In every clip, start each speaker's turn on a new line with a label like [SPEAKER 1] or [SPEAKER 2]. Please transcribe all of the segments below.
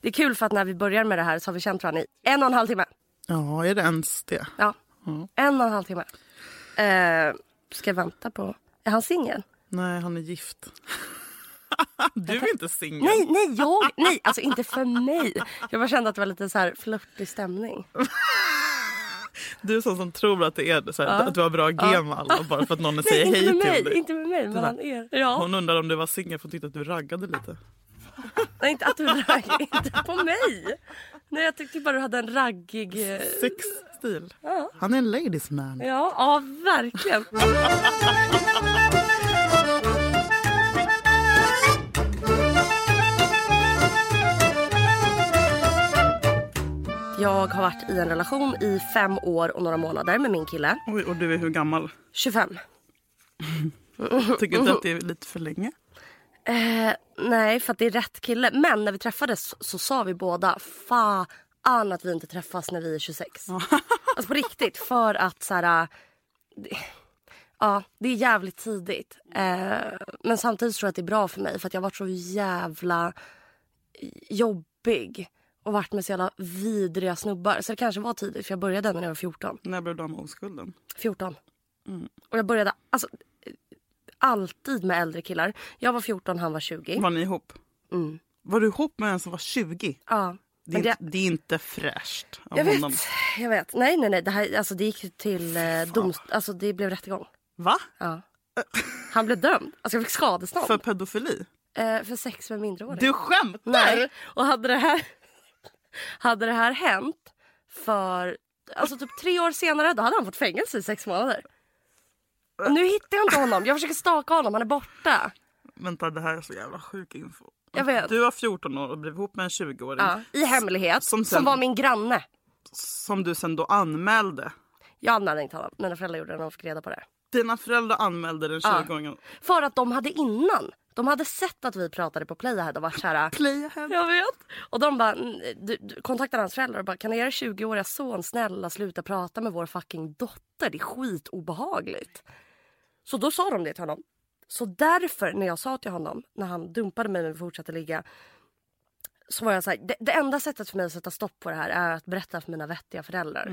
[SPEAKER 1] Det är kul för att när vi började med det här så har vi känt varandra i en och en halv timme.
[SPEAKER 2] Ja, är det ens det?
[SPEAKER 1] Ja,
[SPEAKER 2] Mm.
[SPEAKER 1] en och en halv timme. Eh, ska jag vänta på... Är han singel?
[SPEAKER 2] Nej, han är gift. du är inte singel.
[SPEAKER 1] Nej, nej, jag... Nej, alltså inte för mig. Jag bara kände att det var lite så här flörtig stämning.
[SPEAKER 2] Du är sån som tror att det är det, så här, att du har bra gen med alla bara för att någon säger
[SPEAKER 1] nej,
[SPEAKER 2] hej
[SPEAKER 1] inte
[SPEAKER 2] till
[SPEAKER 1] med mig,
[SPEAKER 2] dig.
[SPEAKER 1] inte med mig, mellan er. Ja.
[SPEAKER 2] Hon undrar om du var singel för hon tyckte att du raggade lite.
[SPEAKER 1] Nej, inte att du raggade, inte på mig. Nej, jag tyckte bara du hade en raggig... eh,
[SPEAKER 2] Sexstil. Han är en ladies man.
[SPEAKER 1] Ja, ja verkligen. Jag har varit i en relation i fem år och några månader med min kille.
[SPEAKER 2] Oj, och du är hur gammal?
[SPEAKER 1] 25.
[SPEAKER 2] Tycker inte att det är lite för länge?
[SPEAKER 1] Eh, nej, för att det är rätt kille. Men när vi träffades så, så sa vi båda fan att vi inte träffas när vi är 26. alltså på riktigt. För att så här... äh, det- Ja, det är jävligt tidigt. Eh, men samtidigt tror jag att det är bra för mig för att jag har varit så jävla jobbig och varit med så jävla vidriga snubbar. Så det kanske var tidigt för jag började när jag var 14.
[SPEAKER 2] När blev du av med oskulden?
[SPEAKER 1] 14. Och jag började alltså, alltid med äldre killar. Jag var 14, han var Mm. 20.
[SPEAKER 2] Var ni ihop? Var du ihop med en som var 20?
[SPEAKER 1] Ja.
[SPEAKER 2] Det är,
[SPEAKER 1] Men det-
[SPEAKER 2] inte, det är inte fräscht av
[SPEAKER 1] Jag
[SPEAKER 2] honom.
[SPEAKER 1] vet, jag vet. Nej, nej, nej. Det, här, alltså, det gick till eh, domstol. Alltså, det blev rättegång.
[SPEAKER 2] Va?
[SPEAKER 1] Ja. Han blev dömd. Alltså, jag fick skadestånd.
[SPEAKER 2] För
[SPEAKER 1] För,
[SPEAKER 2] pedofili?
[SPEAKER 1] eh, för sex med minderårig.
[SPEAKER 2] Du skämtar?
[SPEAKER 1] Nej. Och hade det här, hade det här hänt för alltså, typ tre år senare då hade han fått fängelse i sex månader. Och nu hittar jag inte honom. Jag försöker staka honom. Han är borta.
[SPEAKER 2] Vänta, det här är så jävla sjuk info.
[SPEAKER 1] Jag vet.
[SPEAKER 2] Du var 14 år och blev ihop med en 20-åring
[SPEAKER 1] Ja, I hemlighet.
[SPEAKER 2] Som
[SPEAKER 1] Som,
[SPEAKER 2] sen-
[SPEAKER 1] var min granne.
[SPEAKER 2] som du sen då anmälde.
[SPEAKER 1] Jag anmälde inte honom. Mina föräldrar gjorde det när de fick reda på det.
[SPEAKER 2] Dina föräldrar anmälde den 20-åringen.
[SPEAKER 1] För att de hade innan. De hade sett att vi pratade på Playahead och varit såhär...
[SPEAKER 2] Playa hem.
[SPEAKER 1] Jag vet. "Ah, Och de bara, "Mm, du, du, kontaktade hans föräldrar och bara kan er 20-åriga son snälla sluta prata med vår fucking dotter? Det är skitobehagligt. Så då sa de det till honom. Så därför när jag sa till honom när han dumpade mig men vi fortsatte ligga. Så var jag så här, det, det enda sättet för mig att sätta stopp på det här är att berätta för mina vettiga föräldrar.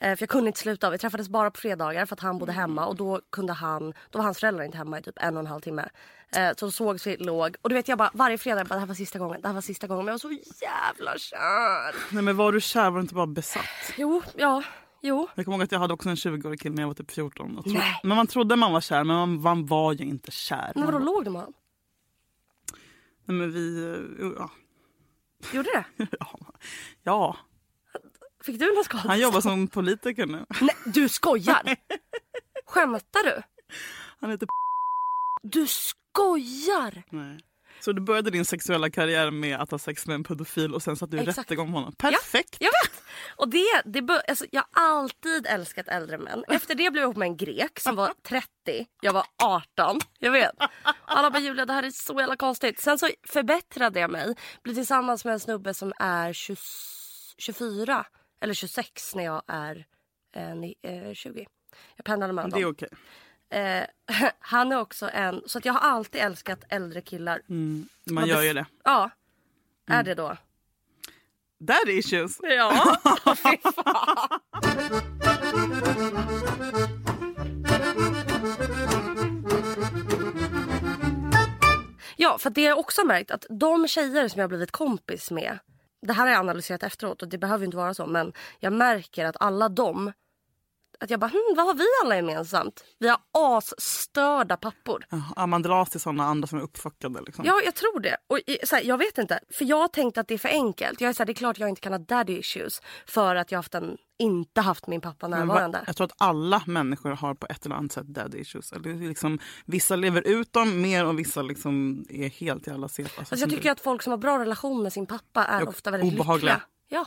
[SPEAKER 1] Eh, för jag kunde inte sluta. Vi träffades bara på fredagar för att han bodde hemma och då kunde han, då var hans föräldrar inte hemma i typ en och en halv timme. Eh, så då sågs vi, låg. Och du vet jag bara varje fredag, jag bara, det här var sista gången, det här var sista gången. Men jag var så jävla kär.
[SPEAKER 2] Nej men var du kär var du inte bara besatt?
[SPEAKER 1] Jo, ja, jo.
[SPEAKER 2] Jag kommer ihåg att jag hade också en 20-årig kille när jag var typ 14. Jag tro-
[SPEAKER 1] Nej.
[SPEAKER 2] Men man trodde man var kär men man, man var ju inte kär.
[SPEAKER 1] Men vadå
[SPEAKER 2] Man-
[SPEAKER 1] låg du med honom?
[SPEAKER 2] Nej, men vi... eh, Ja.
[SPEAKER 1] Gjorde det?
[SPEAKER 2] ja.
[SPEAKER 1] Fick du någon skada?
[SPEAKER 2] Han jobbar som politiker nu.
[SPEAKER 1] Nej, du skojar! Skämtar du?
[SPEAKER 2] Han heter
[SPEAKER 1] Du skojar!
[SPEAKER 2] Nej. Så du började din sexuella karriär med att ha sex med en pedofil och sen satt du i
[SPEAKER 1] Exakt.
[SPEAKER 2] rättegång med honom. Perfekt!
[SPEAKER 1] Jag vet! Och det, det bör, alltså, jag har alltid älskat äldre män. Efter det blev jag ihop med en grek som var 30. Jag var 18. Jag vet. Och Alla bara Julia det här är så jävla konstigt. Sen så förbättrade jag mig. Blev tillsammans med en snubbe som är 20, 24 eller 26 när jag är eh, ni- eh, 20. Jag pendlade mellan
[SPEAKER 2] Det är
[SPEAKER 1] dem.
[SPEAKER 2] okej.
[SPEAKER 1] Eh, han är också en... Så att jag har alltid älskat äldre killar.
[SPEAKER 2] Mm. Man gör ju det.
[SPEAKER 1] Ja. Är det då?
[SPEAKER 2] Daddy issues!
[SPEAKER 1] Ja. ja, för det har jag också märkt att de tjejer som jag har blivit kompis med. Det här har jag analyserat efteråt och det behöver ju inte vara så. Men jag märker att alla de. Att jag bara, hm, vad har vi alla gemensamt? Vi har asstörda pappor.
[SPEAKER 2] Ja, man dras till såna andra som är uppfuckade. Liksom.
[SPEAKER 1] Ja, jag tror det. Och i- så här, jag vet inte. För jag tänkte att det är för enkelt. Jag är så här, det är klart jag inte kan ha daddy issues för att jag haft en, inte haft min pappa
[SPEAKER 2] Men va-
[SPEAKER 1] närvarande.
[SPEAKER 2] Jag tror att alla människor har på ett eller annat sätt daddy issues. Eller liksom, vissa lever ut dem mer och vissa liksom är helt jävla sepa. Alltså,
[SPEAKER 1] Alltså, jag tycker att folk som har bra relation med sin pappa är
[SPEAKER 2] Och
[SPEAKER 1] ofta väldigt
[SPEAKER 2] obehagliga.
[SPEAKER 1] lyckliga.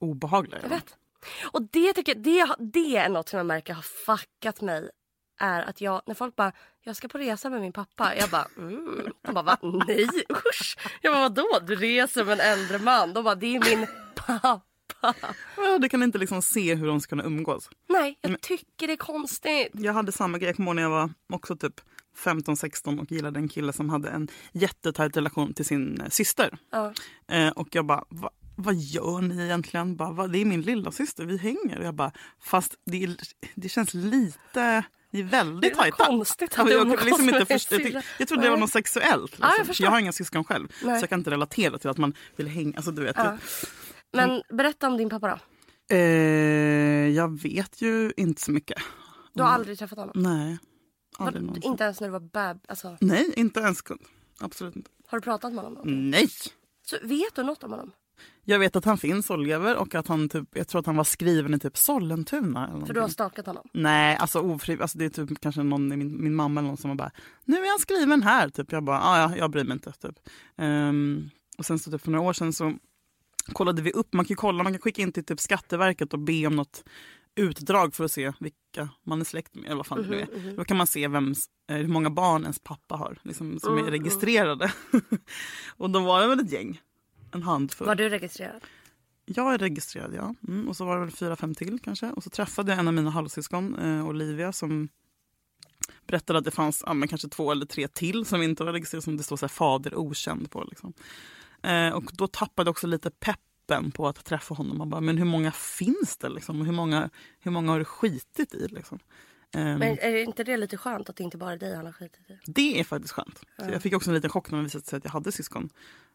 [SPEAKER 1] Ja,
[SPEAKER 2] Obehagliga.
[SPEAKER 1] jag vet. Och det tycker jag, det, det är något som jag märker har fuckat mig. Är att jag, när folk bara, jag ska på resa med min pappa. Jag bara, mm. De bara, va? Nej, usch. Jag bara, vadå? Du reser med en äldre man. De bara, det är min pappa.
[SPEAKER 2] Ja, Du kan inte liksom se hur de ska kunna umgås.
[SPEAKER 1] Nej, jag tycker det är konstigt.
[SPEAKER 2] Jag hade samma grej, jag kommer ihåg när jag var också typ 15, 16 och gillade en kille som hade en jättetajt relation till sin eh, syster.
[SPEAKER 1] Ja.
[SPEAKER 2] Eh, och jag bara, Va, vad gör ni egentligen? Bara, Va, det är min lilla syster, vi hänger. Och jag bara, fast det, är, det känns lite, det är
[SPEAKER 1] Det är
[SPEAKER 2] väldigt
[SPEAKER 1] väl
[SPEAKER 2] tajta.
[SPEAKER 1] konstigt att
[SPEAKER 2] Jag,
[SPEAKER 1] du
[SPEAKER 2] jag,
[SPEAKER 1] umgås
[SPEAKER 2] kunde liksom
[SPEAKER 1] med
[SPEAKER 2] inte
[SPEAKER 1] din
[SPEAKER 2] först, jag, tyck-
[SPEAKER 1] syrra.
[SPEAKER 2] jag trodde det var
[SPEAKER 1] Nej.
[SPEAKER 2] något sexuellt. Liksom.
[SPEAKER 1] jag
[SPEAKER 2] jag,
[SPEAKER 1] förstår.
[SPEAKER 2] har inga syskon själv
[SPEAKER 1] Nej.
[SPEAKER 2] så jag kan inte relatera till att man vill hänga. Alltså, du vet,
[SPEAKER 1] Ja. Men berätta om din pappa då.
[SPEAKER 2] eh, jag vet ju inte så mycket.
[SPEAKER 1] Du har aldrig träffat honom?
[SPEAKER 2] Nej,
[SPEAKER 1] Var,
[SPEAKER 2] Mm. aldrig någonsin.
[SPEAKER 1] inte ens när du var bab... Alltså,
[SPEAKER 2] Nej, inte ens kund. Absolut inte.
[SPEAKER 1] har du pratat med honom? någonting?
[SPEAKER 2] Nej!
[SPEAKER 1] Så, vet du något om honom?
[SPEAKER 2] Jag vet att han finns och lever och att han typ, jag tror att han var skriven i typ Sollentuna. Eller
[SPEAKER 1] För du har
[SPEAKER 2] någonting.
[SPEAKER 1] stakat honom?
[SPEAKER 2] Nej, alltså ofrivilligt. Alltså, det är typ kanske någon, i min, min mamma eller någon som har bara “nu är han skriven här”. Typ. Jag bara “ja, ja, jag bryr mig inte”. Typ. Ehm, och sen så typ för några år sedan så kollade vi upp, man kan ju kolla, man kan skicka in till typ Skatteverket och be om något utdrag för att se vilka man är släkt med eller vad fan det nu är. Då kan man se vems, eh, hur många barn ens pappa har liksom, som är registrerade. och då var det väl ett gäng, en handfull.
[SPEAKER 1] Var du registrerad?
[SPEAKER 2] Jag är registrerad, ja. Mm, och så var det väl fyra, fem till kanske. Och så träffade jag en av mina halvsyskon, eh, Olivia, som berättade att det fanns ja, men kanske två eller tre till som inte var registrerade, som det står så här, fader okänd på. Liksom. Eh, och då tappade jag också lite peppen på att träffa honom. Man bara, men hur många finns det? Liksom? Och Hur, många, hur många har du skitit i? Liksom? Ehm,
[SPEAKER 1] Men är det inte det lite skönt att det inte bara är dig han har skitit i?
[SPEAKER 2] Det är faktiskt skönt. Så jag fick också en liten chock när det visade sig att jag hade syskon.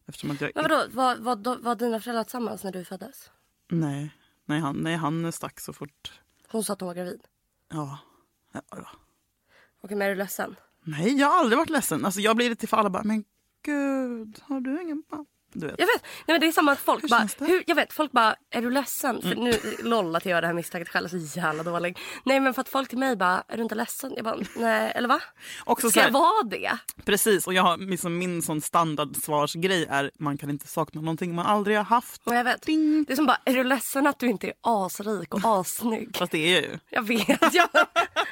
[SPEAKER 2] Eftersom att jag...
[SPEAKER 1] Men vadå, var, var, de- var dina föräldrar tillsammans när du föddes?
[SPEAKER 2] Nej, nej, han, nej, han stack så fort...
[SPEAKER 1] Hon sa att hon var gravid.
[SPEAKER 2] Ja. Ja, ja.
[SPEAKER 1] Okej, men är du ledsen?
[SPEAKER 2] Nej, jag har aldrig varit ledsen. Alltså, jag blir lite för alla bara, men gud, har du ingen pappa? Du vet.
[SPEAKER 1] Jag vet, nej men det är samma att folk
[SPEAKER 2] Hur
[SPEAKER 1] bara,
[SPEAKER 2] känns det? Mm.
[SPEAKER 1] hur, jag vet, folk bara, är du ledsen? För nu, loll att jag gör det här misstaget själv, så jävla dålig. Nej men för att folk till mig bara, är du inte ledsen? Jag bara, nej, eller va?
[SPEAKER 2] Också så
[SPEAKER 1] Ska
[SPEAKER 2] här,
[SPEAKER 1] jag vara det?
[SPEAKER 2] Precis, och jag har, liksom, min sån standardsvarsgrej är man kan inte sakna någonting man aldrig har haft.
[SPEAKER 1] Och jag vet.
[SPEAKER 2] Ding.
[SPEAKER 1] Det är som bara, är du ledsen att du inte är asrik och assnygg?
[SPEAKER 2] Fast det är jag ju.
[SPEAKER 1] Jag vet, jag,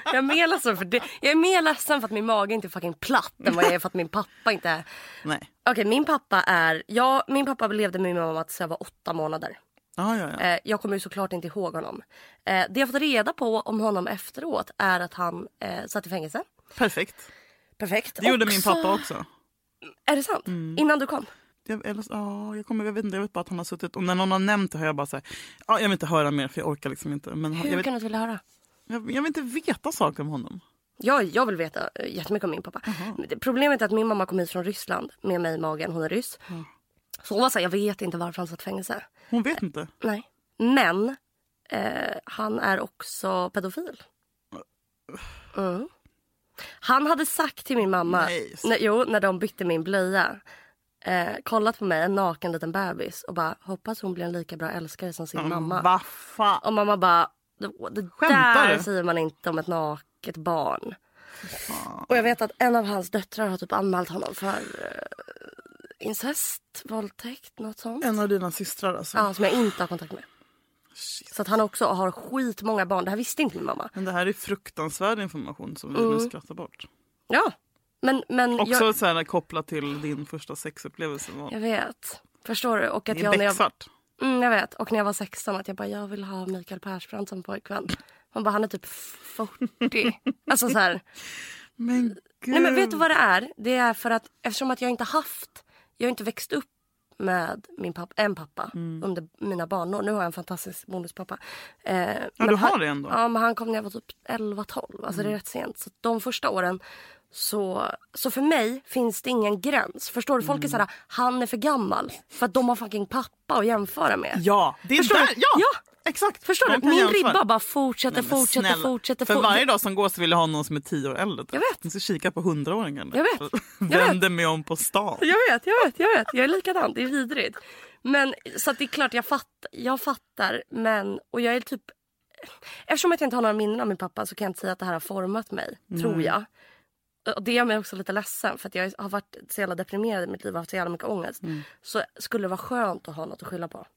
[SPEAKER 1] jag är mer ledsen för det. Jag är mer ledsen för att min mage inte är fucking platt än vad jag är för att min pappa inte är.
[SPEAKER 2] Nej.
[SPEAKER 1] Okej, min pappa är... Jag, min pappa levde med min mamma tills jag var åtta månader.
[SPEAKER 2] Ja, ja, ja.
[SPEAKER 1] Eh, jag kommer ju såklart inte ihåg honom. Eh, det jag fått reda på om honom efteråt är att han eh, satt i fängelse.
[SPEAKER 2] Perfekt.
[SPEAKER 1] Perfekt.
[SPEAKER 2] Det gjorde min
[SPEAKER 1] Också-
[SPEAKER 2] pappa Mm. också.
[SPEAKER 1] Är det sant? Innan du kom?
[SPEAKER 2] Jag, eller, så- ja, jag, kommer, jag, vet inte, jag vet bara att han har suttit och när någon har nämnt det har jag bara sagt ja, jag vill inte höra mer för jag orkar liksom inte. Men han-
[SPEAKER 1] Hur
[SPEAKER 2] jag, vet,
[SPEAKER 1] kan du inte vilja höra?
[SPEAKER 2] jag, jag vill inte veta saker om honom.
[SPEAKER 1] Jag, jag vill veta eh, jättemycket om min pappa. Men det- Problemet är att min mamma kom hit från Ryssland med mig i magen. Hon är ryss. Så hon var så här, jag vet inte varför han satt i fängelse.
[SPEAKER 2] Hon vet inte.
[SPEAKER 1] Nej. Men eh, han är också pedofil. Mm. Han hade sagt till min mamma,
[SPEAKER 2] Nej.
[SPEAKER 1] när, jo, när de bytte min blöja eh, kollat på mig, en naken liten bebis och bara hoppas hon blir en lika bra älskare som
[SPEAKER 2] Mm.
[SPEAKER 1] sin mamma.
[SPEAKER 2] Vad fan.
[SPEAKER 1] Och mamma bara, det, det
[SPEAKER 2] Skämtar
[SPEAKER 1] där
[SPEAKER 2] du?
[SPEAKER 1] säger man inte om ett naket barn. Och jag vet att en av hans döttrar har typ anmält honom för eh, incest, våldtäkt, något sånt.
[SPEAKER 2] En av dina systrar alltså.
[SPEAKER 1] Ja, som jag inte har kontakt med.
[SPEAKER 2] Shit.
[SPEAKER 1] Så att han också har skitmånga barn. Det här visste inte min mamma.
[SPEAKER 2] Men det här är fruktansvärd information som vi nu skrattar bort.
[SPEAKER 1] Ja, men, men
[SPEAKER 2] Också
[SPEAKER 1] Mm. jag,
[SPEAKER 2] så här, kopplat till din första sexupplevelse. Var,
[SPEAKER 1] jag vet. Förstår du? Och att
[SPEAKER 2] det
[SPEAKER 1] jag,
[SPEAKER 2] är
[SPEAKER 1] när jag,
[SPEAKER 2] becksvart.
[SPEAKER 1] mm, jag vet. Och när jag var 16 att jag bara, jag vill ha Mikael Persbrandt som pojkvän. Man bara, han är typ 40. alltså så här.
[SPEAKER 2] Men gud.
[SPEAKER 1] Nej men
[SPEAKER 2] Mm.
[SPEAKER 1] vet du vad det är? Det är för att eftersom att jag inte haft, jag har inte växt upp med min pappa, en pappa
[SPEAKER 2] Mm.
[SPEAKER 1] under mina barnår. Nu har jag en fantastisk bonuspappa. Eh,
[SPEAKER 2] ja,
[SPEAKER 1] men
[SPEAKER 2] du
[SPEAKER 1] han-
[SPEAKER 2] har det ändå? Mm.
[SPEAKER 1] Ja, men han kom när jag var typ 11-12. Alltså det är rätt sent. Så de första åren så, så för mig finns det ingen gräns. Förstår du? Folk
[SPEAKER 2] Mm.
[SPEAKER 1] är såhär, han är för gammal. För att de har fucking pappa att jämföra med.
[SPEAKER 2] Ja, det är
[SPEAKER 1] Förstår
[SPEAKER 2] där.
[SPEAKER 1] du?
[SPEAKER 2] Ja,
[SPEAKER 1] Ja.
[SPEAKER 2] exakt.
[SPEAKER 1] Förstår
[SPEAKER 2] De
[SPEAKER 1] du?
[SPEAKER 2] kan
[SPEAKER 1] Min
[SPEAKER 2] jämföra.
[SPEAKER 1] ribba bara fortsätter,
[SPEAKER 2] Men
[SPEAKER 1] fortsätter,
[SPEAKER 2] snälla,
[SPEAKER 1] fortsätter.
[SPEAKER 2] För
[SPEAKER 1] fortsätter.
[SPEAKER 2] varje dag som går så vill jag ha någon som är tio år äldre.
[SPEAKER 1] Jag vet.
[SPEAKER 2] Jag ska kika på hundraåringarna.
[SPEAKER 1] Jag vet. Jag vet.
[SPEAKER 2] Vänder mig om på stan.
[SPEAKER 1] Jag vet, jag vet, jag vet. Jag är likadan. Det är vidrigt. Men så att det är klart jag fattar. Jag fattar men och jag är typ Eftersom att jag inte har några minnen av min pappa så kan jag inte säga att det här har format mig. Tror jag. Och det gör mig också lite ledsen för att jag har varit så jävla deprimerad i mitt liv och haft så jävla mycket ångest.
[SPEAKER 2] Mm.
[SPEAKER 1] Så skulle det vara skönt att ha något att skylla på.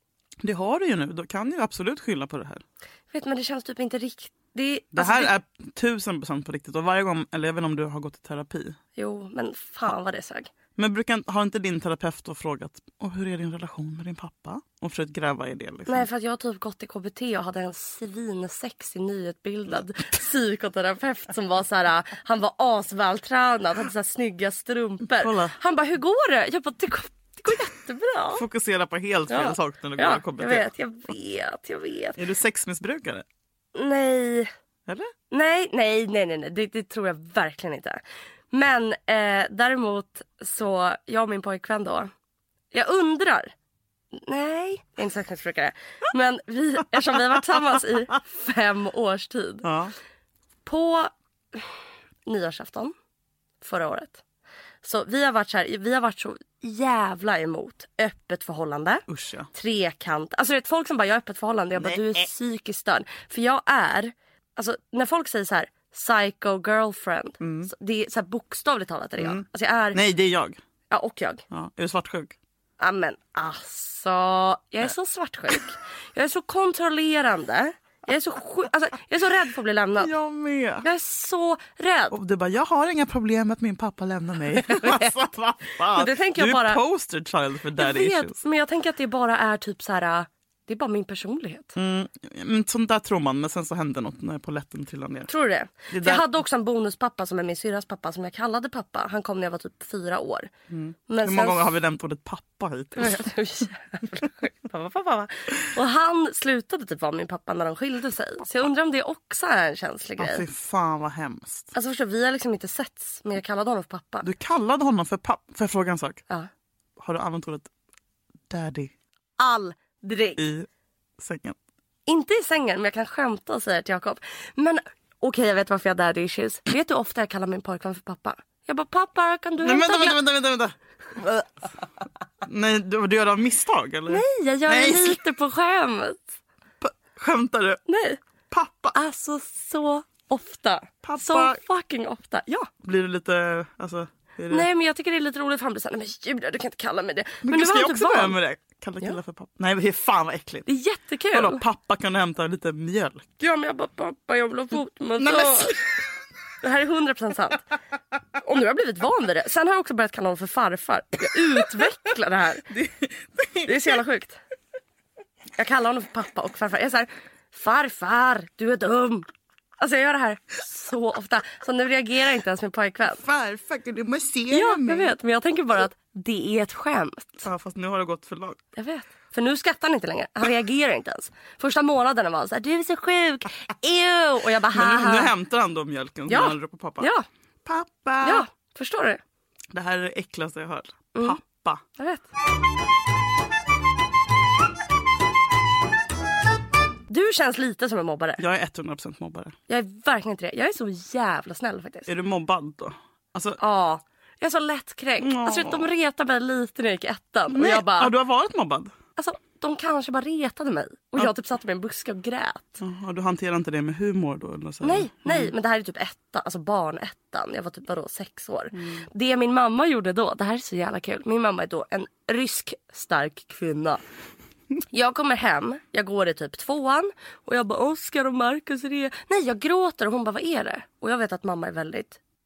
[SPEAKER 2] Det har du ju nu. Då kan du absolut skylla på det här.
[SPEAKER 1] Jag vet men det känns typ inte riktigt. Det,
[SPEAKER 2] Det
[SPEAKER 1] alltså,
[SPEAKER 2] här
[SPEAKER 1] det-
[SPEAKER 2] är tusen procent på riktigt. Och varje gång, eller även om du har gått i terapi.
[SPEAKER 1] Jo men fan vad det sög.
[SPEAKER 2] Men brukar, har inte din terapeut då frågat och hur är din relation med din pappa? Och försökt gräva i det. Liksom.
[SPEAKER 1] Nej, för att jag har typ gått i KBT och hade en svinsexig nyutbildad psykoterapeut som var så här, han var asvältränad, hade så här snygga strumpor.
[SPEAKER 2] Kolla.
[SPEAKER 1] Han bara, hur går det? Jag bara, det går, det går jättebra.
[SPEAKER 2] Fokusera på helt fel
[SPEAKER 1] Ja.
[SPEAKER 2] sak när du
[SPEAKER 1] Ja,
[SPEAKER 2] går i
[SPEAKER 1] jag
[SPEAKER 2] KBT.
[SPEAKER 1] vet, jag vet, jag vet.
[SPEAKER 2] Är du sexmissbrukare?
[SPEAKER 1] Nej,
[SPEAKER 2] Eller?
[SPEAKER 1] nej, nej, nej, nej, nej. Det, det tror jag verkligen inte. Men eh, däremot så, jag och min pojkvän då, jag undrar. Nej, jag är inte sexmissbrukare. Men vi, eftersom vi har varit tillsammans i fem års tid.
[SPEAKER 2] Ja.
[SPEAKER 1] På nyårsafton förra året. Så vi har varit så, här, vi har varit så jävla emot öppet förhållande
[SPEAKER 2] Usch ja.
[SPEAKER 1] trekant. Alltså det är folk som bara jag är öppet förhållande. Jag bara du är psykiskt störd. För jag är, alltså när folk säger så här psycho girlfriend. Så det är så här bokstavligt talat är det jag. Alltså jag är,
[SPEAKER 2] Mm. Nej, det är jag.
[SPEAKER 1] ja och jag.
[SPEAKER 2] Ja. Är du svartsjuk?
[SPEAKER 1] Ja men alltså. Jag är så svartsjuk. jag är så kontrollerande. Jag är så sjuk, alltså jag är så rädd för att bli lämnad.
[SPEAKER 2] Jag med.
[SPEAKER 1] Jag är så rädd.
[SPEAKER 2] Och du bara, jag har inga problem med att min pappa lämnar mig. alltså, vad fan?
[SPEAKER 1] Men det tänker jag
[SPEAKER 2] du
[SPEAKER 1] bara-
[SPEAKER 2] är poster child för
[SPEAKER 1] Jag
[SPEAKER 2] daddy
[SPEAKER 1] vet,
[SPEAKER 2] issues.
[SPEAKER 1] men jag tänker att det bara är typ så här. Det är bara min personlighet.
[SPEAKER 2] Mm, men sånt där tror man, men sen så hände något när polletten trillade ner.
[SPEAKER 1] Tror du det?
[SPEAKER 2] Det
[SPEAKER 1] För jag
[SPEAKER 2] där-
[SPEAKER 1] hade också en bonuspappa som är min syrras pappa som jag kallade pappa. Han kom när jag var typ fyra år. Men
[SPEAKER 2] Mm. Hur många gånger har vi nämnt ordet pappa hittills?
[SPEAKER 1] Jävla sjukt. Pappa, pappa, pappa. Och han slutade typ vara min pappa när de skilde sig. Så jag undrar om det också är en känslig
[SPEAKER 2] Ja, fy
[SPEAKER 1] grej.
[SPEAKER 2] fan vad hemskt.
[SPEAKER 1] Alltså förstår, du, vi har liksom inte setts men jag kallade honom för pappa.
[SPEAKER 2] Du kallade honom för pappa. Får jag fråga en sak?
[SPEAKER 1] Ja.
[SPEAKER 2] Har du använt ordet daddy
[SPEAKER 1] Aldrig.
[SPEAKER 2] i sängen?
[SPEAKER 1] Inte i sängen men jag kan skämta och säga till Jakob. Men okej jag vet varför jag har daddy issues. Vet du hur ofta jag kallar min pojkvän för pappa? Jag bara pappa kan du
[SPEAKER 2] Nej,
[SPEAKER 1] hämta
[SPEAKER 2] vänta,
[SPEAKER 1] glass?"
[SPEAKER 2] vänta, vänta, vänta, vänta. Nej, du, du gör det av misstag eller?
[SPEAKER 1] Nej jag gör
[SPEAKER 2] Nej.
[SPEAKER 1] det lite på skämt.
[SPEAKER 2] Skämtar du?
[SPEAKER 1] Nej.
[SPEAKER 2] Pappa?
[SPEAKER 1] Alltså så ofta.
[SPEAKER 2] Pappa-
[SPEAKER 1] Så fucking ofta. Ja.
[SPEAKER 2] Blir du lite, alltså? Är det...
[SPEAKER 1] Nej men jag tycker det är lite roligt för han blir såhär, nej men Julia du kan inte kalla mig det. Men,
[SPEAKER 2] Gud,
[SPEAKER 1] nu
[SPEAKER 2] ska
[SPEAKER 1] har
[SPEAKER 2] jag
[SPEAKER 1] han typ
[SPEAKER 2] också börja
[SPEAKER 1] barn.
[SPEAKER 2] med det? Kalla killar för pappa? Nej, men fan vad äckligt.
[SPEAKER 1] Det är jättekul.
[SPEAKER 2] Vadå, pappa kan hämta lite mjölk?
[SPEAKER 1] Ja men jag bara, pappa jag vill ha fotmassage.
[SPEAKER 2] Nej, men sl-
[SPEAKER 1] Det här är 100% sant. Och nu har jag blivit van vid det. Sen har jag också börjat kalla honom för farfar. Jag utvecklar det här. Det är så jävla sjukt. Jag kallar honom för pappa och farfar. Jag är så här, farfar du är dum. Alltså jag gör det här så ofta. Så nu reagerar inte ens min pojkvän.
[SPEAKER 2] Farfar, kan du massera
[SPEAKER 1] Ja, jag vet. Men jag tänker bara att det är ett skämt.
[SPEAKER 2] Ja, fast nu har det gått för långt.
[SPEAKER 1] Jag vet. För nu skrattar han inte längre. Han reagerar inte ens. Första månaderna var han så här, du är så sjuk. Ew. Och jag bara,
[SPEAKER 2] Men nu, nu
[SPEAKER 1] haha.
[SPEAKER 2] hämtar han då mjölken som
[SPEAKER 1] Ja.
[SPEAKER 2] han ropar pappa.
[SPEAKER 1] Ja,
[SPEAKER 2] Pappa!
[SPEAKER 1] ja. Mm. Förstår du?
[SPEAKER 2] Det här är det äckligaste jag hört. Pappa.
[SPEAKER 1] Jag vet. Du känns lite som en mobbare.
[SPEAKER 2] Jag är 100% mobbare.
[SPEAKER 1] Jag är verkligen inte det. Jag är så jävla snäll faktiskt.
[SPEAKER 2] Är du mobbad då? Alltså,
[SPEAKER 1] Ja. Jag är så lättkränkt.
[SPEAKER 2] Ja.
[SPEAKER 1] Alltså, de retade mig lite när jag gick i ettan. Och
[SPEAKER 2] nej.
[SPEAKER 1] jag bara,
[SPEAKER 2] ja, du har varit mobbad?
[SPEAKER 1] alltså, de kanske bara retade mig. Och jag typ satte mig i en buske och grät.
[SPEAKER 2] Ja, du hanterar inte det med humor då? Eller så här?
[SPEAKER 1] Nej, nej, men det här är typ etta, alltså barnettan. Jag var typ vadå, sex år. Det min mamma gjorde då, det här är så jävla kul. Min mamma är då en rysk stark kvinna. Jag kommer hem, jag går i typ tvåan och jag bara Oskar och Markus är det. Nej jag gråter och hon bara vad är det? Och jag vet att mamma är väldigt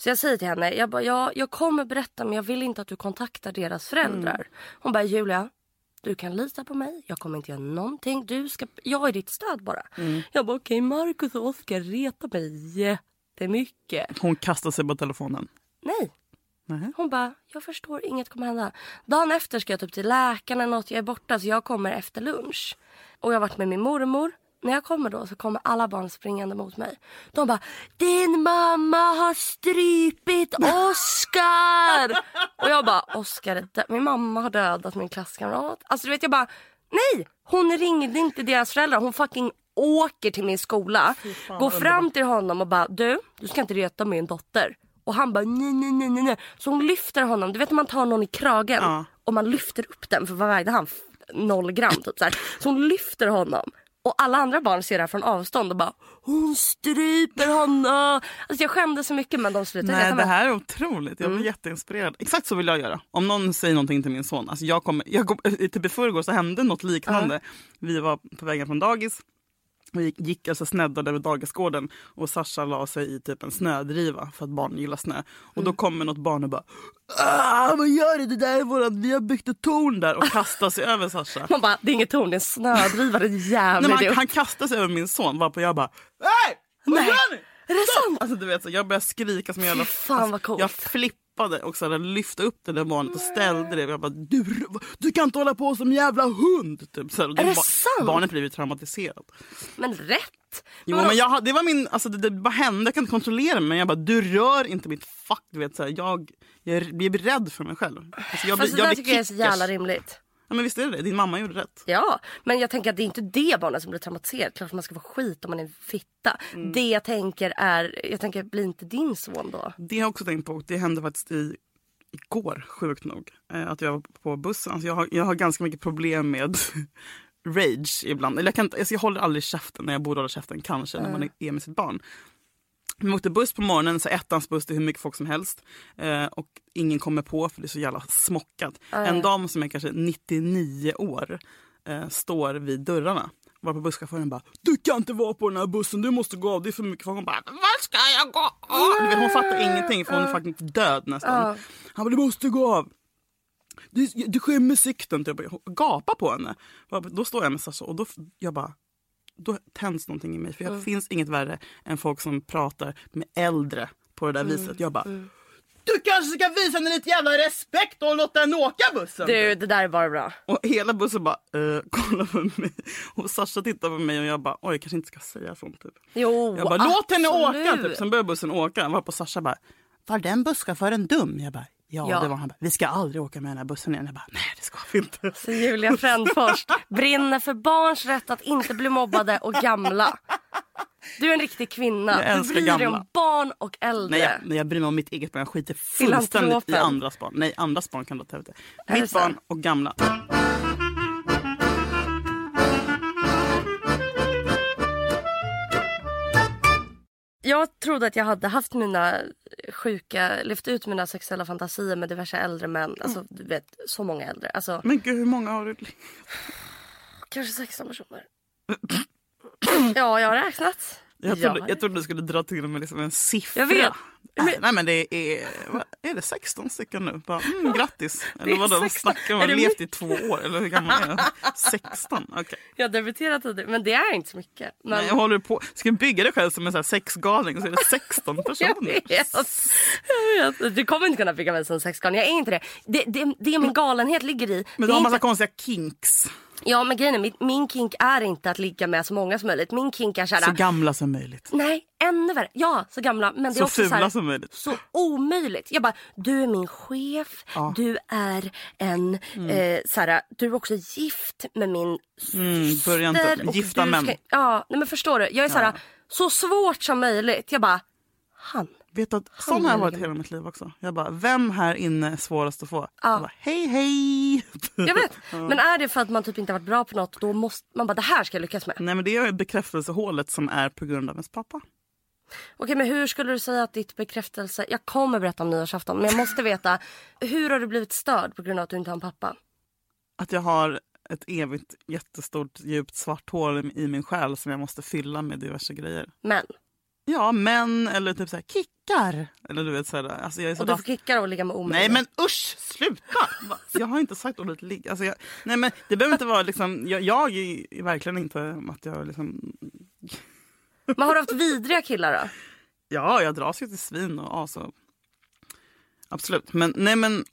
[SPEAKER 1] Så jag säger till henne, jag, bara, ja, jag kommer berätta men jag vill inte att du kontaktar deras föräldrar. Hon bara, Julia, du kan lita på mig. Jag kommer inte göra någonting. Du ska, jag är ditt stöd bara. Jag bara, okej Marcus och Oskar retar mig jättemycket.
[SPEAKER 2] Hon kastar sig på telefonen.
[SPEAKER 1] Nej.
[SPEAKER 2] Nähä.
[SPEAKER 1] Hon bara, jag förstår, inget kommer hända. Dagen efter ska jag typ till läkaren eller något, jag är borta så jag kommer efter lunch. Och jag har varit med min mormor. När jag kommer då så kommer alla barn springande mot mig. De bara, din mamma har strypit Oscar! och jag bara, Oscar, är dö- min mamma har dödat min klasskamrat. Alltså du vet jag bara, nej! Hon ringde inte deras föräldrar, hon fucking åker till min skola. Går fram till honom och bara, du, du ska inte reta min dotter. Och han bara, nej, nej, nej, nej, nej. Så hon lyfter honom, du vet när man tar någon i kragen
[SPEAKER 2] Ja.
[SPEAKER 1] och man lyfter upp den, för vad vägde han? F- Noll gram typ så här. Så hon lyfter honom. Och alla andra barn ser det här från avstånd och bara hon stryper honom. Alltså jag skämde så mycket men de slutade
[SPEAKER 2] Nej,
[SPEAKER 1] reta
[SPEAKER 2] det
[SPEAKER 1] mig.
[SPEAKER 2] här är Mm. otroligt. Jag blir jätteinspirerad. Exakt så vill jag göra. Om någon säger någonting till min son. Alltså jag kommer, jag kom, typ I förrgår så hände något liknande. Vi var på vägen från dagis. Vi gick, gick alltså sneddade över dagisgården och Sasha la sig i typ en snödriva för att barn gillar snö. Och då kommer något barn och bara "Ah, vad gör du? Det där är vårat, vi har byggt ett torn där och kastar sig över Sasha.
[SPEAKER 1] Man bara det är inget torn, det är en snödrivare din jävla
[SPEAKER 2] Nej, men han,
[SPEAKER 1] idiot.
[SPEAKER 2] han kastar sig över min son varpå jag bara Nej! Vad
[SPEAKER 1] Nej.
[SPEAKER 2] gör ni?
[SPEAKER 1] Är det
[SPEAKER 2] Stopp!"
[SPEAKER 1] sant?
[SPEAKER 2] Alltså, du vet, så jag började skrika som en jävla... alltså,
[SPEAKER 1] Fy fan, vad coolt.
[SPEAKER 2] Jag flippade och så där, lyfte upp det där barnet och ställde det. Jag bara, du, du kan inte hålla på som jävla hund! Typ, så här. Och
[SPEAKER 1] Är det sant?
[SPEAKER 2] Barnet blev ju traumatiserat.
[SPEAKER 1] Men rätt.
[SPEAKER 2] Jo, men jag, hade- det var min, alltså, det, det bara hände, jag kan inte kontrollera mig. Men jag bara, du rör inte mitt fack. Du vet, så här, jag, jag, jag blir rädd för mig själv. Alltså, jag,
[SPEAKER 1] Fast
[SPEAKER 2] blir-
[SPEAKER 1] det där
[SPEAKER 2] blir
[SPEAKER 1] tycker jag är så jävla
[SPEAKER 2] kickers.
[SPEAKER 1] rimligt.
[SPEAKER 2] ja, men Visst är det det? Din mamma gjorde rätt.
[SPEAKER 1] Ja, men jag tänker att det är inte det barnet som blir traumatiserat. Klart man ska få skit om man är en fitta.
[SPEAKER 2] Mm.
[SPEAKER 1] Det jag tänker är, jag tänker blir inte din son då?
[SPEAKER 2] Det har jag också tänkt på. Det hände faktiskt i, igår, sjukt nog. Eh, att jag var på bussen. Alltså jag, har, jag har ganska mycket problem med rage ibland. Eller jag, kan, inte- alltså jag håller aldrig käften när jag borde hålla käften, kanske, när man är med sitt barn. Vi åkte buss på morgonen, så ettans buss, det är hur mycket folk som helst. Eh, och ingen kommer på för det är så jävla smockat. En dam som är kanske 99 år eh, står vid dörrarna. Var på busschauffören bara “Du kan inte vara på den här bussen, du måste gå av, det är för mycket folk”. Hon bara “Var ska jag gå av?” Du vet, Hon fattar ingenting för hon är faktiskt död nästan. Han bara “Du måste gå av”. Du, du skymmer sikten. Typ. Jag gapar på henne. Då står jag med Sasha och då, jag bara, då tänds någonting i mig. För jag
[SPEAKER 1] Mm.
[SPEAKER 2] finns inget värre än folk som pratar med äldre på det där
[SPEAKER 1] Mm,
[SPEAKER 2] viset. Jag bara, du kanske ska visa henne lite jävla respekt och låta henne åka bussen.
[SPEAKER 1] Du, det där är bara bra.
[SPEAKER 2] Och hela bussen bara, eh, kolla på mig. Och Sasha tittar på mig och jag bara, oj jag kanske inte ska säga sånt. Typ.
[SPEAKER 1] Jo,
[SPEAKER 2] Jag bara, låt henne
[SPEAKER 1] absolut.
[SPEAKER 2] åka! Typ. Sen börjar bussen åka. Var på Sasha bara, var den busschauffören dum? Jag bara, ja,
[SPEAKER 1] Ja.
[SPEAKER 2] det var han. Han Bara, vi ska aldrig åka med den här bussen igen. Jag bara, nej det ska vi inte.
[SPEAKER 1] Så Julia Frändfors brinner för barns rätt att inte bli mobbade och gamla. Du är en riktig kvinna.
[SPEAKER 2] Jag
[SPEAKER 1] du
[SPEAKER 2] älskar
[SPEAKER 1] bryr dig
[SPEAKER 2] gamla.
[SPEAKER 1] om barn och äldre.
[SPEAKER 2] Nej jag, nej, jag bryr mig om mitt eget barn. Jag skiter fullständigt i
[SPEAKER 1] Filantropen.
[SPEAKER 2] andras barn. Nej, andras barn kan du ta ut det.
[SPEAKER 1] det
[SPEAKER 2] Mitt
[SPEAKER 1] så?
[SPEAKER 2] barn och gamla.
[SPEAKER 1] Jag trodde att jag hade haft mina sjuka, lyft ut mina sexuella fantasier med diverse äldre män. Alltså du vet, så många äldre. Alltså
[SPEAKER 2] Men gud, hur många har du?
[SPEAKER 1] kanske 16 personer. ja, jag har räknat.
[SPEAKER 2] Jag
[SPEAKER 1] Ja.
[SPEAKER 2] trodde, jag trodde du skulle dra till med liksom en siffra. Äh,
[SPEAKER 1] Jag vet.
[SPEAKER 2] Nej, nej men det är, vad- är det 16 stycken nu? Bara, mm, grattis. Eller
[SPEAKER 1] är
[SPEAKER 2] vadå,
[SPEAKER 1] 16.
[SPEAKER 2] snackar
[SPEAKER 1] Är
[SPEAKER 2] man?
[SPEAKER 1] det
[SPEAKER 2] Levt i två år? Eller hur gammal är jag? 16? Okej.
[SPEAKER 1] Jag debuterade tidigt, men det är inte så mycket. Men...
[SPEAKER 2] Nej, jag håller på. Ska du bygga dig själv som en sån här sexgalning så är det 16
[SPEAKER 1] Jag
[SPEAKER 2] personer.
[SPEAKER 1] vet. jag vet. Du kommer inte kunna bygga mig som sexgalning. Jag är inte det. Det, det, det är min galenhet ligger i.
[SPEAKER 2] Men
[SPEAKER 1] det
[SPEAKER 2] du
[SPEAKER 1] är
[SPEAKER 2] har
[SPEAKER 1] inte...
[SPEAKER 2] massa konstiga kinks.
[SPEAKER 1] Ja men grejen är, min, min kink är inte att ligga med så många som möjligt. Min kink är såhär,
[SPEAKER 2] Så gamla som möjligt.
[SPEAKER 1] nej ännu värre. Ja så gamla men det är
[SPEAKER 2] Så
[SPEAKER 1] också såhär,
[SPEAKER 2] fula som möjligt.
[SPEAKER 1] så omöjligt. Jag bara, du är min chef, du är en,
[SPEAKER 2] Mm.
[SPEAKER 1] eh, såhär, du är också gift med min syster.
[SPEAKER 2] Mm, börja inte.
[SPEAKER 1] och
[SPEAKER 2] Gifta
[SPEAKER 1] du
[SPEAKER 2] män.
[SPEAKER 1] Ja, nej men förstår du. Jag är såhär, så svårt som möjligt. Jag bara, han.
[SPEAKER 2] Vet du att sån har jag varit hela mitt liv också. Jag bara, vem här inne är svårast att få? Jag bara, hej hej!
[SPEAKER 1] Jag vet. Men är det för att man typ inte varit bra på något då måste man bara det här ska jag lyckas med. Okej
[SPEAKER 2] Nej men det är ju bekräftelsehålet som är på grund av ens pappa.
[SPEAKER 1] men hur skulle du säga att ditt bekräftelse, jag kommer berätta om nyårsafton men jag måste veta hur har du blivit störd på grund av att du inte har en pappa?
[SPEAKER 2] Att jag har ett evigt jättestort djupt svart hål i- i min själ som jag måste fylla med diverse grejer.
[SPEAKER 1] Men.
[SPEAKER 2] Ja, män eller typ så här kickar. Eller du vet så här, alltså jag är så
[SPEAKER 1] Och du
[SPEAKER 2] dass-
[SPEAKER 1] får kicka och ligga med omöjliga.
[SPEAKER 2] Nej men usch, sluta! Va? Jag har inte sagt ordet ligg. Alltså jag, nej men det behöver inte vara liksom, jag, jag är verkligen inte att jag liksom,
[SPEAKER 1] men har du haft vidriga killar då?
[SPEAKER 2] ja jag dras ju till svin och as och, absolut. Men nej men,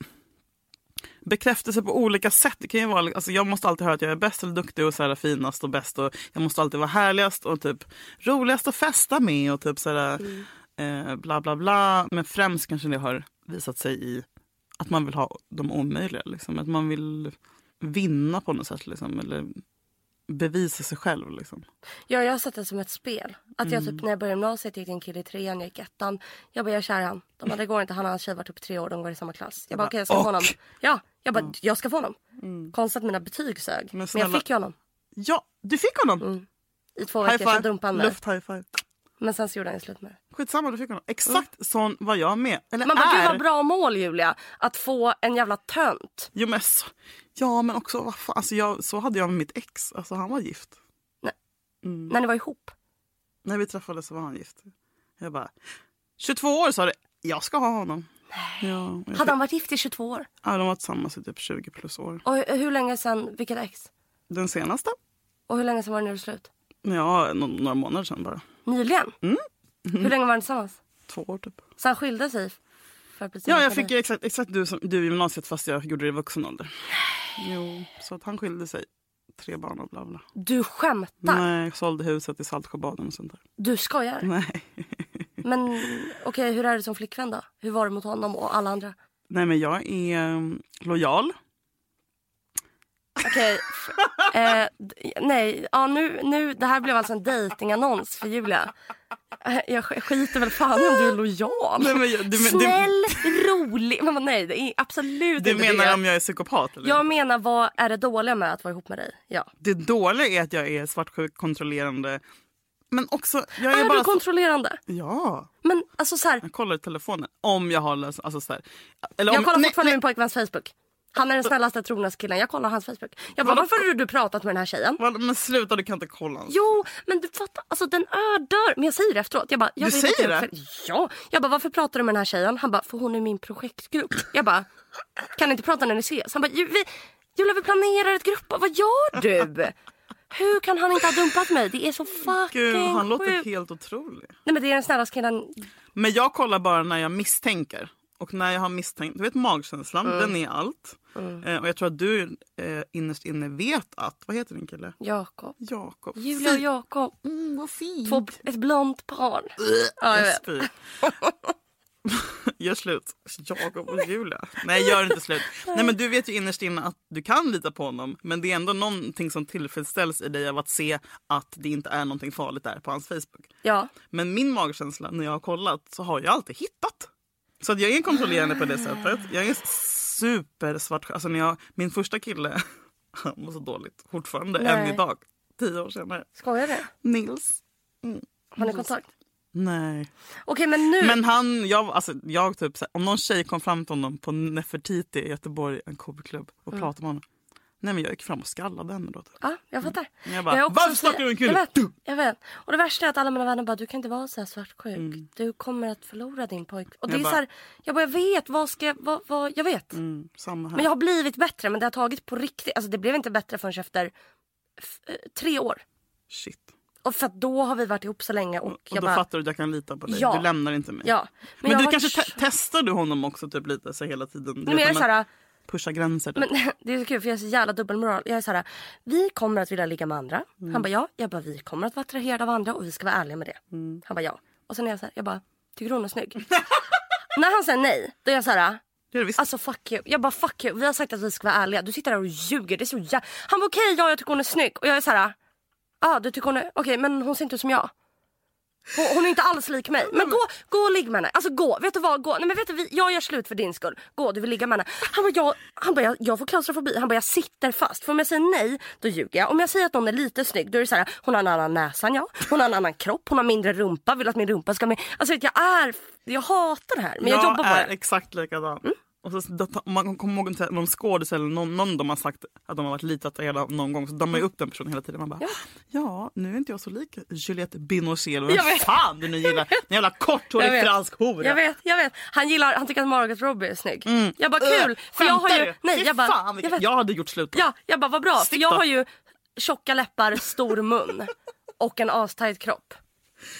[SPEAKER 2] bekräftelse på olika sätt. Det kan ju vara, alltså jag måste alltid höra att jag är bäst eller duktig och så här, finast och bäst och jag måste alltid vara härligast och typ roligast att festa med och typ så här, eh, bla bla bla. Men främst kanske det har visat sig i att man vill ha de omöjliga. Liksom. Att man vill vinna på något sätt liksom, eller bevisa sig själv. Liksom.
[SPEAKER 1] Ja, jag har sett det som ett spel. Att jag
[SPEAKER 2] Mm.
[SPEAKER 1] typ när jag började gymnasiet gick det en kille i trean, jag gick i ettan. Jag bara, jag är kär i han. De bara, det går inte. Han och hans tjej var typ tre år, de går i samma klass. Jag bara, okej jag ska
[SPEAKER 2] Och? Mm.
[SPEAKER 1] få honom. Ja, jag bara, jag ska få honom. Konstigt att mina betyg sög. Men,
[SPEAKER 2] snälla-
[SPEAKER 1] jag fick ju honom.
[SPEAKER 2] Ja, du fick honom!
[SPEAKER 1] I två
[SPEAKER 2] High
[SPEAKER 1] veckor så dumpade han
[SPEAKER 2] five,
[SPEAKER 1] mig.
[SPEAKER 2] luft high five.
[SPEAKER 1] Men sen så gjorde han ju slut med det.
[SPEAKER 2] Skitsamma, du fick honom. Exakt sån var jag med. Eller
[SPEAKER 1] Mm. Man bara,
[SPEAKER 2] är.
[SPEAKER 1] gud vad bra mål Julia. Att få en jävla tönt.
[SPEAKER 2] Jo, men så, ja men också, vad fan, alltså jag, så hade jag med mitt ex. Alltså han var gift. Mm.
[SPEAKER 1] När ni var ihop.
[SPEAKER 2] När vi träffades så var han gift. Jag bara, 22 år sa det. Jag ska ha honom. Nej. Ja, jag,
[SPEAKER 1] Hade han varit gift i 22 år?
[SPEAKER 2] ja, de har varit tillsammans i typ 20 plus år.
[SPEAKER 1] Och hur, hur länge sen, vilket ex?
[SPEAKER 2] Den senaste?
[SPEAKER 1] Och hur länge sen var det när du slut?
[SPEAKER 2] Ja, nå- några månader sedan bara.
[SPEAKER 1] Nyligen?
[SPEAKER 2] Mm.
[SPEAKER 1] Hur länge var ni tillsammans?
[SPEAKER 2] Två år typ.
[SPEAKER 1] Så han skilde sig? För att bli
[SPEAKER 2] Ja,
[SPEAKER 1] tillsammans
[SPEAKER 2] jag
[SPEAKER 1] med dig?
[SPEAKER 2] fick exakt, exakt du, som, du i gymnasiet fast jag gjorde det i vuxen ålder. Jo, så att han skilde sig. Tre barn och bla bla.
[SPEAKER 1] Du skämtar?
[SPEAKER 2] Nej, sålde huset i Saltsjöbaden och sånt där.
[SPEAKER 1] Du skojar?
[SPEAKER 2] Nej.
[SPEAKER 1] Men okej, hur är du som flickvän då? Hur var du mot honom och alla andra?
[SPEAKER 2] Nej, men jag är um, lojal.
[SPEAKER 1] Okej, f- eh, d- nej, ja, nu, nu, det här blev alltså en dejtingannons för Julia. Eh, Jag sk- skiter väl fan om du är lojal.
[SPEAKER 2] Nej, men jag- du men- du-
[SPEAKER 1] Snäll, rolig. Men vad- nej, det är absolut
[SPEAKER 2] Du
[SPEAKER 1] inte
[SPEAKER 2] menar
[SPEAKER 1] det.
[SPEAKER 2] om jag är psykopat? Eller?
[SPEAKER 1] Jag menar, vad är det dåliga med att vara ihop med dig? Ja.
[SPEAKER 2] Det dåliga är att jag är svartsjuk, kontrollerande. Men också... Jag är,
[SPEAKER 1] är
[SPEAKER 2] bara
[SPEAKER 1] Ah, du kontrollerande?
[SPEAKER 2] så, Ja,
[SPEAKER 1] Men alltså så här,
[SPEAKER 2] jag kollar i telefonen. Om jag har lös... Alltså så här. Eller om,
[SPEAKER 1] jag kollar
[SPEAKER 2] nej,
[SPEAKER 1] fortfarande
[SPEAKER 2] nej.
[SPEAKER 1] min pojkväns Facebook. Han är den snällaste trognaste killen. Jag kollar hans Facebook. Jag bara, varför har du pratat med den här tjejen?
[SPEAKER 2] Vad- Men sluta, du kan inte kolla. ens.
[SPEAKER 1] Jo, men du fattar. Alltså den ödör. Men jag säger det efteråt. Jag bara, jag
[SPEAKER 2] Du
[SPEAKER 1] vet inte
[SPEAKER 2] säger
[SPEAKER 1] varför- Ja. Jag bara, varför pratar du med den här tjejen? Han bara, för hon är min projektgrupp. Jag bara, kan inte prata när ni ses? Han bara, "Ju- vi, Julia vi planerar ett grupp. Vad gör du? Hur kan han inte ha dumpat mig? Det är så fucking
[SPEAKER 2] Gud, han låter
[SPEAKER 1] sjukt.
[SPEAKER 2] helt otrolig.
[SPEAKER 1] Nej men det är den snällaste killen.
[SPEAKER 2] Men jag kollar bara när jag misstänker. Och när jag har misstänkt, du vet magkänslan,
[SPEAKER 1] Mm.
[SPEAKER 2] den är allt. Eh, och jag tror att du eh, innerst inne vet att, vad heter din kille?
[SPEAKER 1] Jakob.
[SPEAKER 2] Jakob.
[SPEAKER 1] Julia och Jakob.
[SPEAKER 2] Mm, vad fint.
[SPEAKER 1] Två, ett blont par. Ja, jag
[SPEAKER 2] jag
[SPEAKER 1] vet.
[SPEAKER 2] spyr. Gör slut. Jakob och Julia. Nej, gör inte slut. Nej, men du vet ju innerst inne att du kan lita på honom. Men det är ändå någonting som tillfredsställs i dig av att se att det inte är någonting farligt där på hans Facebook.
[SPEAKER 1] Ja.
[SPEAKER 2] Men min magkänsla när jag har kollat så har jag alltid hittat. Så att jag är kontrollerande på det sättet. Jag är supersvart. Alltså när jag, min första kille, han var så dåligt fortfarande än
[SPEAKER 1] Nej.
[SPEAKER 2] idag. Tio år senare.
[SPEAKER 1] Skojar du?
[SPEAKER 2] Nils.
[SPEAKER 1] Har ni kontakt?
[SPEAKER 2] Nej.
[SPEAKER 1] Okej men nu.
[SPEAKER 2] Men han, jag, alltså, jag typ, så här, om någon tjej kom fram till honom på Nefertiti i Göteborg, en KB-klubb, och
[SPEAKER 1] Mm.
[SPEAKER 2] pratade med honom. Nej men jag gick fram och skallade henne då. Typ.
[SPEAKER 1] Ja, jag fattar.
[SPEAKER 2] Jag bara,
[SPEAKER 1] är också
[SPEAKER 2] varför
[SPEAKER 1] så-
[SPEAKER 2] snackar du med en kille?
[SPEAKER 1] Jag vet, jag vet. Och det värsta är att alla mina vänner bara, du kan inte vara så här svartsjuk. Du kommer att förlora din pojk. Och det
[SPEAKER 2] Mm. Jag
[SPEAKER 1] är
[SPEAKER 2] bara-
[SPEAKER 1] så här, jag bara, jag vet, vad ska jag, vad, vad, jag vet.
[SPEAKER 2] Mm, samma här.
[SPEAKER 1] Men jag har blivit bättre, men det har tagit på riktigt, alltså det blev inte bättre förrän efter f- eh, tre år.
[SPEAKER 2] Shit.
[SPEAKER 1] Och för att då har vi varit ihop så länge och,
[SPEAKER 2] Och
[SPEAKER 1] jag
[SPEAKER 2] då
[SPEAKER 1] bara,
[SPEAKER 2] fattar du att jag kan lita på dig.
[SPEAKER 1] Ja.
[SPEAKER 2] Du lämnar inte mig.
[SPEAKER 1] ja.
[SPEAKER 2] Men,
[SPEAKER 1] jag
[SPEAKER 2] du
[SPEAKER 1] har varit så-
[SPEAKER 2] kanske te- testar du honom också typ lite så här hela tiden? Du
[SPEAKER 1] Nej, men
[SPEAKER 2] vet,
[SPEAKER 1] jag är
[SPEAKER 2] när
[SPEAKER 1] så här,
[SPEAKER 2] man pushar gränser. Typ.
[SPEAKER 1] Men det är så kul för jag är så jävla dubbelmoral. Jag är så här, vi kommer att vilja ligga med andra. Han bara ja. Jag bara vi kommer att vara attraherade av andra och vi ska vara ärliga med det. Han bara ja. Och sen är jag så här, jag bara tycker hon är snygg? När han säger nej, då är jag så här,
[SPEAKER 2] det är det visst.
[SPEAKER 1] alltså fuck you. Jag bara fuck you. Vi har sagt att vi ska vara ärliga. Du sitter där och ljuger. Det är så jä... Han bara okej ja jag tycker hon är snygg. Och jag är så här, ja ah, du tycker hon är, okej men hon ser inte ut som jag. Hon, hon är inte alls lik mig. Men gå, gå och ligg med henne. Alltså gå, vet du vad? Gå. Nej, men vet du, vi, jag gör slut för din skull. Gå, du vill ligga med henne. Han bara, jag, han bara, jag, jag får klaustrofobi. Han bara, jag sitter fast. För om jag säger nej, då ljuger jag. Om jag säger att någon är lite snygg, då är det så här, hon har en annan näsa än jag. Hon har en annan kropp, hon har mindre rumpa, vill att min rumpa ska med. Alltså vet, du, jag är, jag hatar det här. Men jag, jobbar på
[SPEAKER 2] är
[SPEAKER 1] det. Mm.
[SPEAKER 2] exakt likadan. Och så, det- om man kommer ihåg inte- någon skådis eller någon, någon de har sagt att de har varit lite attraherade av någon gång så dammar
[SPEAKER 1] Mm.
[SPEAKER 2] man ju upp den personen hela tiden. Man bara, ja, nu är inte jag så lik Juliette Binoche eller
[SPEAKER 1] Jag
[SPEAKER 2] vem
[SPEAKER 1] vet.
[SPEAKER 2] fan du nu gillar. En jävla
[SPEAKER 1] Jag
[SPEAKER 2] korthårig
[SPEAKER 1] vet.
[SPEAKER 2] fransk hora.
[SPEAKER 1] Jag vet, jag vet. Han gillar, han tycker att Margot Robbie är snygg. Jag bara kul.
[SPEAKER 2] Äh,
[SPEAKER 1] för jag har
[SPEAKER 2] skämtar
[SPEAKER 1] ju,
[SPEAKER 2] du?
[SPEAKER 1] nej
[SPEAKER 2] Fy
[SPEAKER 1] jag bara,
[SPEAKER 2] fan, vilket-
[SPEAKER 1] jag vet,
[SPEAKER 2] jag hade gjort slut.
[SPEAKER 1] Ja, jag bara vad bra. För
[SPEAKER 2] Stick
[SPEAKER 1] jag
[SPEAKER 2] då.
[SPEAKER 1] har ju tjocka läppar, stor mun och en astajt kropp.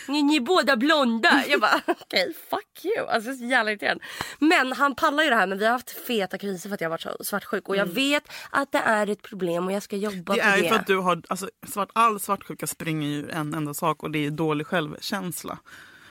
[SPEAKER 1] Ni, ni är båda blonda. Jag bara okej, fuck you. Alltså det är så jävla irriterande. Men han pallar ju det här men vi har haft feta kriser för att jag har varit så svartsjuk och jag vet att det är ett problem och jag ska jobba
[SPEAKER 2] Mm. Det
[SPEAKER 1] på
[SPEAKER 2] är ju
[SPEAKER 1] det.
[SPEAKER 2] för att du har, alltså, svart, all svartsjuka springer ju ur en enda sak och det är dålig självkänsla.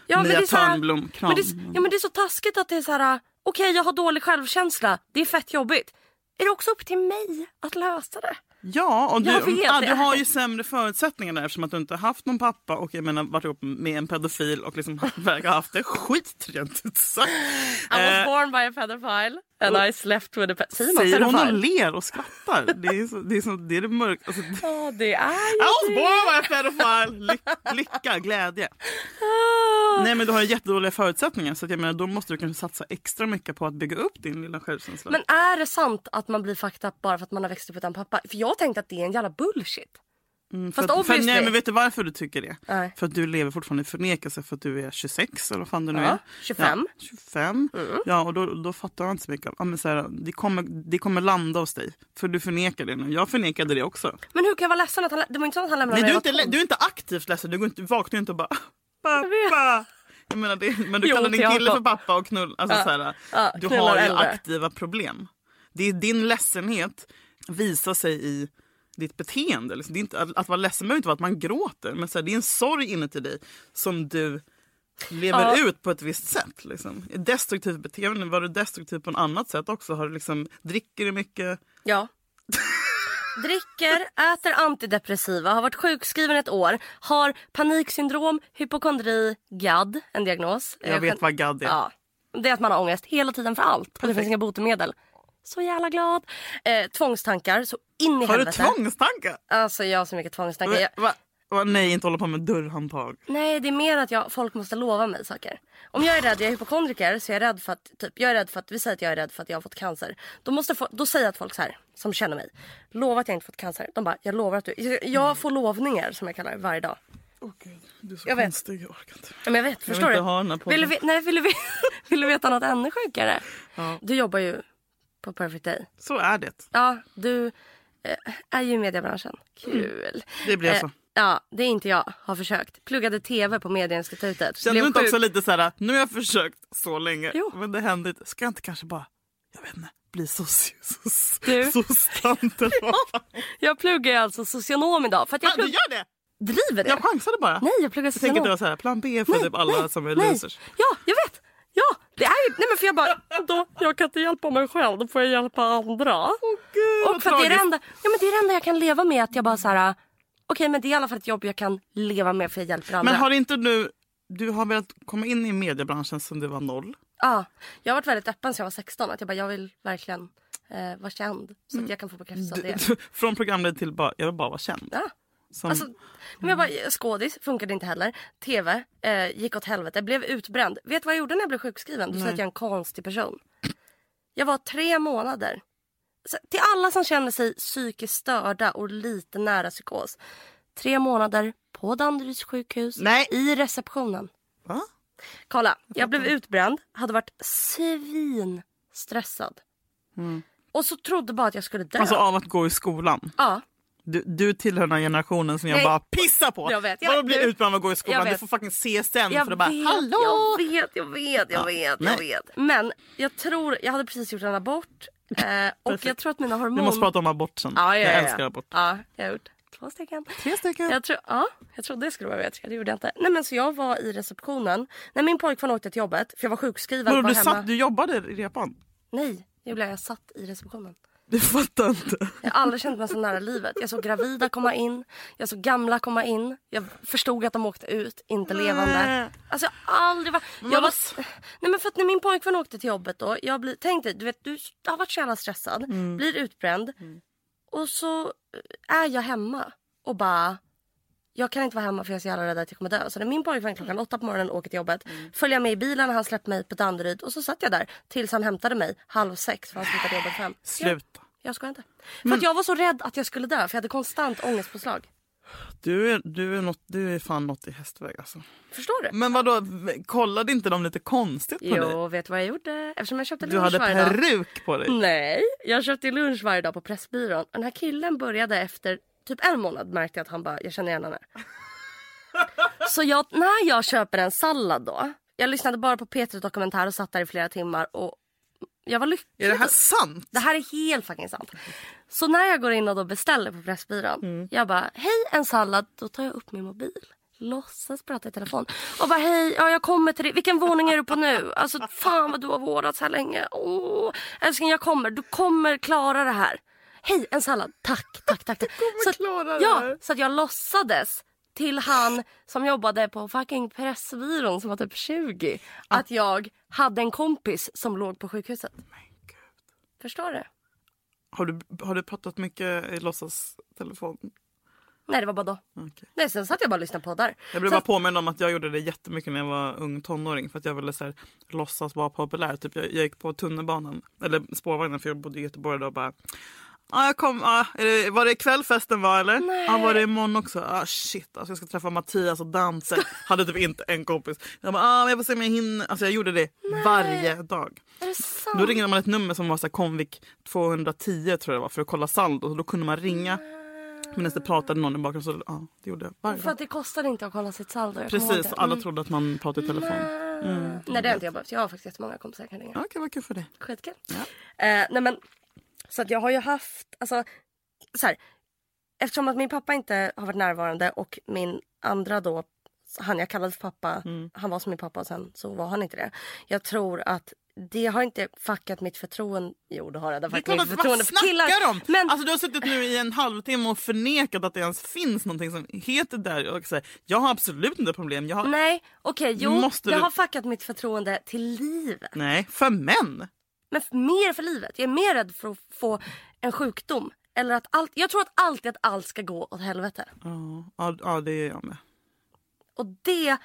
[SPEAKER 1] Ja, men
[SPEAKER 2] Mia
[SPEAKER 1] det är så här-
[SPEAKER 2] Törnblom, kram.
[SPEAKER 1] Men det, är så- ja men det är så taskigt att det är så här, okej jag har dålig självkänsla, det är fett jobbigt. Är det också upp till mig att lösa det?
[SPEAKER 2] Ja, och du,
[SPEAKER 1] Jag vet
[SPEAKER 2] ja,
[SPEAKER 1] det.
[SPEAKER 2] du har ju sämre förutsättningar där eftersom att du inte har haft någon pappa och jag menar varit ihop med en pedofil och liksom verkar ha haft det skit rent ut sagt.
[SPEAKER 1] I was
[SPEAKER 2] Eh,
[SPEAKER 1] born by a pedophile and I slept with a pe- Säger man
[SPEAKER 2] Säger hon och
[SPEAKER 1] pedophile?
[SPEAKER 2] ler och skrattar. Det är, så, det, är så, det, är det mörka. Alltså, det-
[SPEAKER 1] Ja, det är ju
[SPEAKER 2] I was
[SPEAKER 1] det.
[SPEAKER 2] born by a pedophile! Ly- lycka, glädje.
[SPEAKER 1] Ah.
[SPEAKER 2] Nej men du har ju jättedåliga förutsättningar så att jag menar då måste du kanske satsa extra mycket på att bygga upp din lilla självkänsla.
[SPEAKER 1] Men är det sant att man blir fucked up bara för att man har växt upp utan pappa? För jag tänkte att det är en jävla bullshit. Fast
[SPEAKER 2] Mm, för, att- för,
[SPEAKER 1] obviously.
[SPEAKER 2] nej, men vet du varför du tycker det?
[SPEAKER 1] Nej.
[SPEAKER 2] För att du lever fortfarande i förnekelse för att du är 26 eller vad fan du nu
[SPEAKER 1] Ja, Mm.
[SPEAKER 2] är.
[SPEAKER 1] 25.
[SPEAKER 2] Ja, 25. Ja, och då, då fattar jag inte så mycket. Ja, men så här, det, kommer, det kommer landa hos dig. För du förnekar det nu. Jag förnekade det också.
[SPEAKER 1] Men hur kan jag vara ledsen att han... lä- Det var inte så att han lämnade
[SPEAKER 2] Nej,
[SPEAKER 1] mig
[SPEAKER 2] du, är
[SPEAKER 1] och
[SPEAKER 2] inte,
[SPEAKER 1] var tom.
[SPEAKER 2] du är inte aktivt ledsen. Du går inte, vaknar ju inte och bara
[SPEAKER 1] vet.
[SPEAKER 2] pappa. Jag menar det, men du
[SPEAKER 1] Jo,
[SPEAKER 2] kallar din
[SPEAKER 1] till
[SPEAKER 2] kille för
[SPEAKER 1] Jakob.
[SPEAKER 2] pappa och knull. Alltså, så här,
[SPEAKER 1] ja,
[SPEAKER 2] du
[SPEAKER 1] knullar
[SPEAKER 2] har ju
[SPEAKER 1] äldre.
[SPEAKER 2] aktiva problem. Det är din ledsenhet visar sig i ditt beteende. Liksom. Det är inte, att, att vara ledsen behöver inte vara att man gråter. Men så här, det är en sorg inuti dig som du lever
[SPEAKER 1] Ja.
[SPEAKER 2] ut på ett visst sätt. Liksom. Destruktivt beteende, var du destruktiv på ett annat sätt också? Har du liksom, dricker du mycket?
[SPEAKER 1] Ja. Dricker, äter antidepressiva, har varit sjukskriven ett år, har paniksyndrom, hypokondri, GAD, en diagnos.
[SPEAKER 2] Jag
[SPEAKER 1] Eh,
[SPEAKER 2] vet
[SPEAKER 1] gen-
[SPEAKER 2] vad GAD är.
[SPEAKER 1] Ja. Det är att man har ångest hela tiden för allt och det finns inga botemedel. Så jävla glad. Eh, tvångstankar, så in i
[SPEAKER 2] Har du
[SPEAKER 1] helvete.
[SPEAKER 2] tvångstankar?
[SPEAKER 1] Alltså jag har så mycket tvångstankar. Jag,
[SPEAKER 2] Va? Va? Nej, inte hålla på med dörrhandtag.
[SPEAKER 1] Nej, det är mer att jag, folk måste lova mig saker. Om jag är rädd, jag är hypokondriker, så jag är rädd för att, typ, jag är rädd för att, vi säger att jag är rädd för att jag har fått cancer. Då, måste få, då säger jag att folk så här, som känner mig, lova att jag inte fått cancer. De bara, jag lovar att du, jag- jag får lovningar som jag kallar det varje dag.
[SPEAKER 2] Åh gud, du är så
[SPEAKER 1] Jag vet.
[SPEAKER 2] konstig. Jag orkar inte.
[SPEAKER 1] Ja, Men jag vet,
[SPEAKER 2] vill
[SPEAKER 1] förstår du?
[SPEAKER 2] inte ha den här podden.
[SPEAKER 1] vill, du, ve- nej, vill, du, ve- vill du veta något ännu sjukare? Du jobbar ju på Perfect Day.
[SPEAKER 2] Så är det.
[SPEAKER 1] Ja, du eh, är ju i mediebranschen. Kul.
[SPEAKER 2] Mm. Det blev så.
[SPEAKER 1] Eh, ja, det är inte jag. Har försökt. Pluggade TV på Medieinstitutet.
[SPEAKER 2] Känner
[SPEAKER 1] Blev
[SPEAKER 2] du inte
[SPEAKER 1] sjuk.
[SPEAKER 2] också lite så här, nu har jag försökt så länge
[SPEAKER 1] Jo.
[SPEAKER 2] men det händer inte. Ska jag inte kanske bara, jag vet inte, bli soci-
[SPEAKER 1] Du.
[SPEAKER 2] soc- soc-tant eller vad fan?
[SPEAKER 1] Jag pluggar ju alltså socionom idag. För att jag
[SPEAKER 2] Ja, Ah, Du
[SPEAKER 1] plugg...
[SPEAKER 2] gör det?
[SPEAKER 1] driver det.
[SPEAKER 2] Jag chansade bara.
[SPEAKER 1] Nej, jag pluggar
[SPEAKER 2] jag tänker att det
[SPEAKER 1] socionom.
[SPEAKER 2] var så här, plan B för typ alla som är
[SPEAKER 1] nej.
[SPEAKER 2] losers.
[SPEAKER 1] Ja, jag vet. Ja, det är ju... Nej men för jag bara, då, jag kan inte hjälpa mig själv, då får jag hjälpa andra.
[SPEAKER 2] Gud, vad
[SPEAKER 1] och för att det är det
[SPEAKER 2] tragiskt.
[SPEAKER 1] enda, ja men det är det enda jag kan leva med att jag bara så här. äh, Okej men det är i alla fall ett jobb jag kan leva med för jag hjälper andra.
[SPEAKER 2] Men har inte du, du har velat komma in i mediebranschen sen du var noll?
[SPEAKER 1] ja, jag har varit väldigt öppen sen jag var 16 att jag bara jag vill verkligen eh, vara känd så att jag kan få bekräftelse av
[SPEAKER 2] Mm.
[SPEAKER 1] det.
[SPEAKER 2] Du, du, från programledare till bara, jag vill bara vara känd.
[SPEAKER 1] Ja.
[SPEAKER 2] Som,
[SPEAKER 1] Alltså, men jag bara, skådis funkade inte heller. Tv eh, gick åt helvete. Blev utbränd. Vet du vad jag gjorde när jag blev sjukskriven? Du sa att jag är en konstig person. Jag var tre månader. Så, till alla som känner sig psykiskt störda och lite nära psykos. Tre månader på Danderyds sjukhus
[SPEAKER 2] Nej.
[SPEAKER 1] i receptionen.
[SPEAKER 2] Va?
[SPEAKER 1] Kolla, jag blev utbränd, hade varit svinstressad. Och så trodde bara att jag skulle dö.
[SPEAKER 2] Mm. alltså av att gå i skolan.
[SPEAKER 1] ja.
[SPEAKER 2] Du, du tillhör den här generationen som jag
[SPEAKER 1] Nej.
[SPEAKER 2] bara pissar på.
[SPEAKER 1] Jag vet, jag-
[SPEAKER 2] Vadå blir
[SPEAKER 1] du-
[SPEAKER 2] utbränd av att gå i
[SPEAKER 1] jag
[SPEAKER 2] skolan?
[SPEAKER 1] vet.
[SPEAKER 2] Du får fucking CSN för att bara
[SPEAKER 1] vet,
[SPEAKER 2] hallå!
[SPEAKER 1] Jag vet, jag vet, jag vet, jag
[SPEAKER 2] nej.
[SPEAKER 1] vet. Men jag tror, jag hade precis gjort en abort eh, och jag tror att mina hormoner...
[SPEAKER 2] Vi måste prata om abort sen.
[SPEAKER 1] ja, ja, ja, ja.
[SPEAKER 2] jag älskar abort.
[SPEAKER 1] Ja, jag har gjort två stycken.
[SPEAKER 2] Tre stycken.
[SPEAKER 1] Jag, tror, ja, jag trodde det skulle vara tre, det gjorde jag inte. Nej men så jag var i receptionen. När min pojkvän åkte till jobbet, för jag var sjukskriven.
[SPEAKER 2] Vadå,
[SPEAKER 1] var
[SPEAKER 2] du,
[SPEAKER 1] hemma.
[SPEAKER 2] satt, du jobbade i repan?
[SPEAKER 1] Nej, Julia jag satt i receptionen.
[SPEAKER 2] Du fattar inte.
[SPEAKER 1] Jag har aldrig känt mig så nära livet. Jag såg gravida komma in, jag såg gamla komma in. Jag förstod att de åkte ut, inte levande. Alltså jag har aldrig varit... Jag var... Nej men för att när min pojkvän åkte till jobbet då. Jag blir... Tänk dig, du vet du har varit så jävla stressad, blir utbränd. Och så eh, är jag hemma och bara... Jag kan inte vara hemma för jag är så jävla rädd att jag kommer dö. Så när min pojkvän klockan åtta på morgonen åker till jobbet följer jag med i bilen och han släppte mig på Danderyd. Och så satt jag där tills han hämtade mig halv sex för han slutade jobba fem. Ja.
[SPEAKER 2] Sluta.
[SPEAKER 1] Jag skojar inte. För att jag var så rädd att jag skulle dö för jag hade konstant ångestpåslag.
[SPEAKER 2] Du är, du är, något, du är fan något i hästväg alltså.
[SPEAKER 1] Förstår du?
[SPEAKER 2] Men vadå, kollade inte de lite konstigt på dig?
[SPEAKER 1] Jo, vet du vad jag gjorde? Eftersom jag köpte
[SPEAKER 2] Du
[SPEAKER 1] lunch
[SPEAKER 2] hade
[SPEAKER 1] varje dag.
[SPEAKER 2] peruk på dig.
[SPEAKER 1] Nej, jag köpte lunch varje dag på Pressbyrån. Och Den här killen började efter typ en månad märkte jag att han bara, jag känner igen henne. Så jag, när jag köper en sallad då. Jag lyssnade bara på Petri Dokumentär och satt där i flera timmar och jag var lycklig.
[SPEAKER 2] Är det här sant?
[SPEAKER 1] Det här är helt fucking sant. Så när jag går in och då beställer på Pressbyrån. Jag bara, hej en sallad. Då tar jag upp min mobil. Låtsas prata i telefon. Och bara, hej, ja, jag kommer till dig. Vilken våning är du på nu? Alltså fan vad du har vårdat så här länge. Åh, älskling jag kommer. Du kommer klara det här. Hej, en sallad. Tack, tack, tack. tack. Så att,
[SPEAKER 2] klara det
[SPEAKER 1] ja,
[SPEAKER 2] här.
[SPEAKER 1] så att jag låtsades till han som jobbade på fucking Pressbyrån som var typ 20.
[SPEAKER 2] Ah.
[SPEAKER 1] Att jag hade en kompis som låg på sjukhuset. Förstår du?
[SPEAKER 2] Har du, har du pratat mycket i låtsas telefon?
[SPEAKER 1] Nej, det var bara då.
[SPEAKER 2] Okej.
[SPEAKER 1] Nej, sen satt jag bara och lyssnade på där.
[SPEAKER 2] Jag blev
[SPEAKER 1] Sen-
[SPEAKER 2] bara påmind om att jag gjorde det jättemycket när jag var ung tonåring för att jag ville så här, låtsas vara populär. Typ jag, jag gick på tunnelbanan eller spårvagnen för jag bodde i Göteborg då och bara Ah, jag kom, ah, är det, var det ikväll festen var eller?
[SPEAKER 1] Nej.
[SPEAKER 2] Ah, var det imorgon också? Ah, shit, alltså, jag ska träffa Mattias och dansa. Hade typ inte en kompis. Jag bara, ah, men jag får se om jag hinner. Alltså, jag gjorde det varje dag.
[SPEAKER 1] Är det sant?
[SPEAKER 2] Då ringde man ett nummer som var så här, Convic 210 tror jag det var för att kolla saldo. Och Då kunde man ringa medan det pratade någon i bakgrunden. Så, ja, det gjorde jag varje
[SPEAKER 1] För
[SPEAKER 2] dag.
[SPEAKER 1] att det kostade inte att kolla sitt saldo. jag kommer ihåg
[SPEAKER 2] Precis,
[SPEAKER 1] det.
[SPEAKER 2] alla trodde att man pratade i telefon.
[SPEAKER 1] Mm. Nej, det har inte jag behövt. Jag har faktiskt jättemånga kompisar jag kan ringa.
[SPEAKER 2] Ja, Okej, vad kul för dig.
[SPEAKER 1] Skitkul. Eh, nej men, så att jag har ju haft, alltså så här, eftersom att min pappa inte har varit närvarande och min andra då, han jag kallade för pappa,
[SPEAKER 2] Mm.
[SPEAKER 1] han var som min pappa och sen så var han inte det. Jag tror att det har inte fuckat mitt förtroende. Jo det har det. Det har
[SPEAKER 2] Det är
[SPEAKER 1] fuckat
[SPEAKER 2] klart
[SPEAKER 1] mitt
[SPEAKER 2] att vad
[SPEAKER 1] förtroende för killar.
[SPEAKER 2] snackar om?
[SPEAKER 1] Men
[SPEAKER 2] Alltså, du har suttit nu i en halvtimme och förnekat att det ens finns någonting som heter där. Och så här, jag har absolut inte problem. Jag har... Nej.
[SPEAKER 1] nej, okej jo.
[SPEAKER 2] Måste
[SPEAKER 1] det
[SPEAKER 2] du-
[SPEAKER 1] har fuckat mitt förtroende till livet.
[SPEAKER 2] för män.
[SPEAKER 1] Men f- mer för livet. Jag är mer rädd för att få en sjukdom. Eller att allt, jag tror att alltid att allt ska gå åt helvete.
[SPEAKER 2] Ja, ja, ja, det är jag med.
[SPEAKER 1] Och det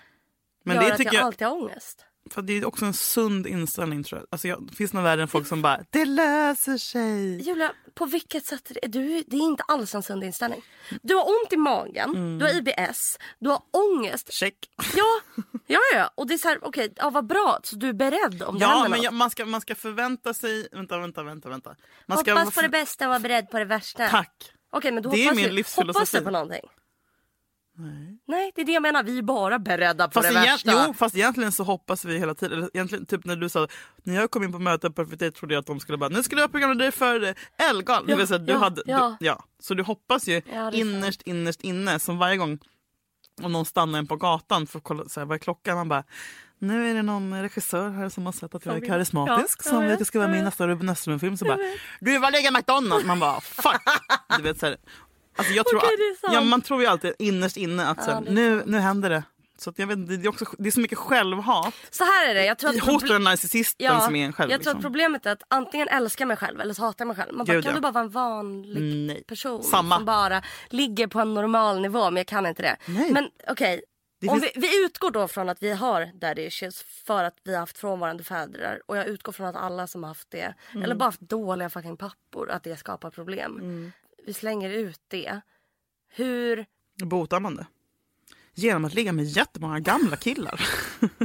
[SPEAKER 2] Men
[SPEAKER 1] gör
[SPEAKER 2] det
[SPEAKER 1] att jag,
[SPEAKER 2] tycker jag,
[SPEAKER 1] alltid har ångest.
[SPEAKER 2] för det är också en sund inställning tror jag. Alltså, jag det finns nog värre än folk som bara, det löser sig.
[SPEAKER 1] Julia, på vilket sätt? Är du, det är inte alls en sund inställning. Du har ont i magen, du har IBS, du har ångest.
[SPEAKER 2] Check.
[SPEAKER 1] Ja, ja, ja. Och det är så här, okej, ja, vad bra. Så du är beredd om det
[SPEAKER 2] Ja,
[SPEAKER 1] händer
[SPEAKER 2] men
[SPEAKER 1] något.
[SPEAKER 2] jag, man, ska, man ska förvänta sig... Vänta, vänta, vänta. vänta. Man ska
[SPEAKER 1] Hoppas på det bästa och var beredd på det värsta.
[SPEAKER 2] Tack.
[SPEAKER 1] Okej, men då
[SPEAKER 2] Det är
[SPEAKER 1] hoppas
[SPEAKER 2] min
[SPEAKER 1] du-
[SPEAKER 2] livsfilosofi.
[SPEAKER 1] Hoppas du på någonting? Nej. Nej, det är det jag menar. Vi är bara beredda på
[SPEAKER 2] Fast,
[SPEAKER 1] det
[SPEAKER 2] egent,
[SPEAKER 1] värsta.
[SPEAKER 2] jo, fast egentligen så hoppas vi hela tiden. Eller egentligen, typ när du sa när jag kom in på mötet på FFT trodde jag att de skulle bara nu ska du vara programledare för eh, Ellegal.
[SPEAKER 1] Ja,
[SPEAKER 2] Du vet, så här, du
[SPEAKER 1] ja,
[SPEAKER 2] hade- du-
[SPEAKER 1] ja.
[SPEAKER 2] ja. Så du hoppas ju
[SPEAKER 1] det är sant.
[SPEAKER 2] innerst, innerst inne som varje gång om någon stannar en på gatan för att kolla så här, vad är klockan. Man bara nu är det någon regissör här som har sett att jag är karismatisk
[SPEAKER 1] Ja, jag
[SPEAKER 2] som vill
[SPEAKER 1] vet,
[SPEAKER 2] att jag ska vara med i
[SPEAKER 1] jag
[SPEAKER 2] nästa Ruben Östlund-film. Så bara gud vad lägger McDonalds. Man bara fuck. Du vet, så här, Alltså jag tror,
[SPEAKER 1] Okej, det är sant.
[SPEAKER 2] ja, man tror ju alltid innerst inne att så här, nu, nu händer det. Så att jag vet, inte, det, är också, det är så mycket självhat
[SPEAKER 1] Så här är det. Jag tror
[SPEAKER 2] i
[SPEAKER 1] att
[SPEAKER 2] hos
[SPEAKER 1] proble-
[SPEAKER 2] den narcissisten
[SPEAKER 1] Ja,
[SPEAKER 2] som är en själv.
[SPEAKER 1] jag tror att
[SPEAKER 2] liksom.
[SPEAKER 1] problemet är att antingen älskar mig själv eller så hatar jag mig själv. Man bara,
[SPEAKER 2] Gud,
[SPEAKER 1] kan
[SPEAKER 2] ja.
[SPEAKER 1] du bara vara en vanlig
[SPEAKER 2] Nej.
[SPEAKER 1] person
[SPEAKER 2] Samma.
[SPEAKER 1] som bara ligger på en normal nivå men jag kan inte det.
[SPEAKER 2] Nej.
[SPEAKER 1] Men okej,
[SPEAKER 2] Det
[SPEAKER 1] om
[SPEAKER 2] finns-
[SPEAKER 1] vi, vi utgår då från att vi har daddy issues för att vi har haft frånvarande fäder och jag utgår från att alla som har haft det
[SPEAKER 2] Mm.
[SPEAKER 1] eller bara haft dåliga fucking pappor att det skapar problem.
[SPEAKER 2] Mm.
[SPEAKER 1] Vi slänger ut det. Hur
[SPEAKER 2] Botar man det? Genom att ligga med jättemånga gamla killar.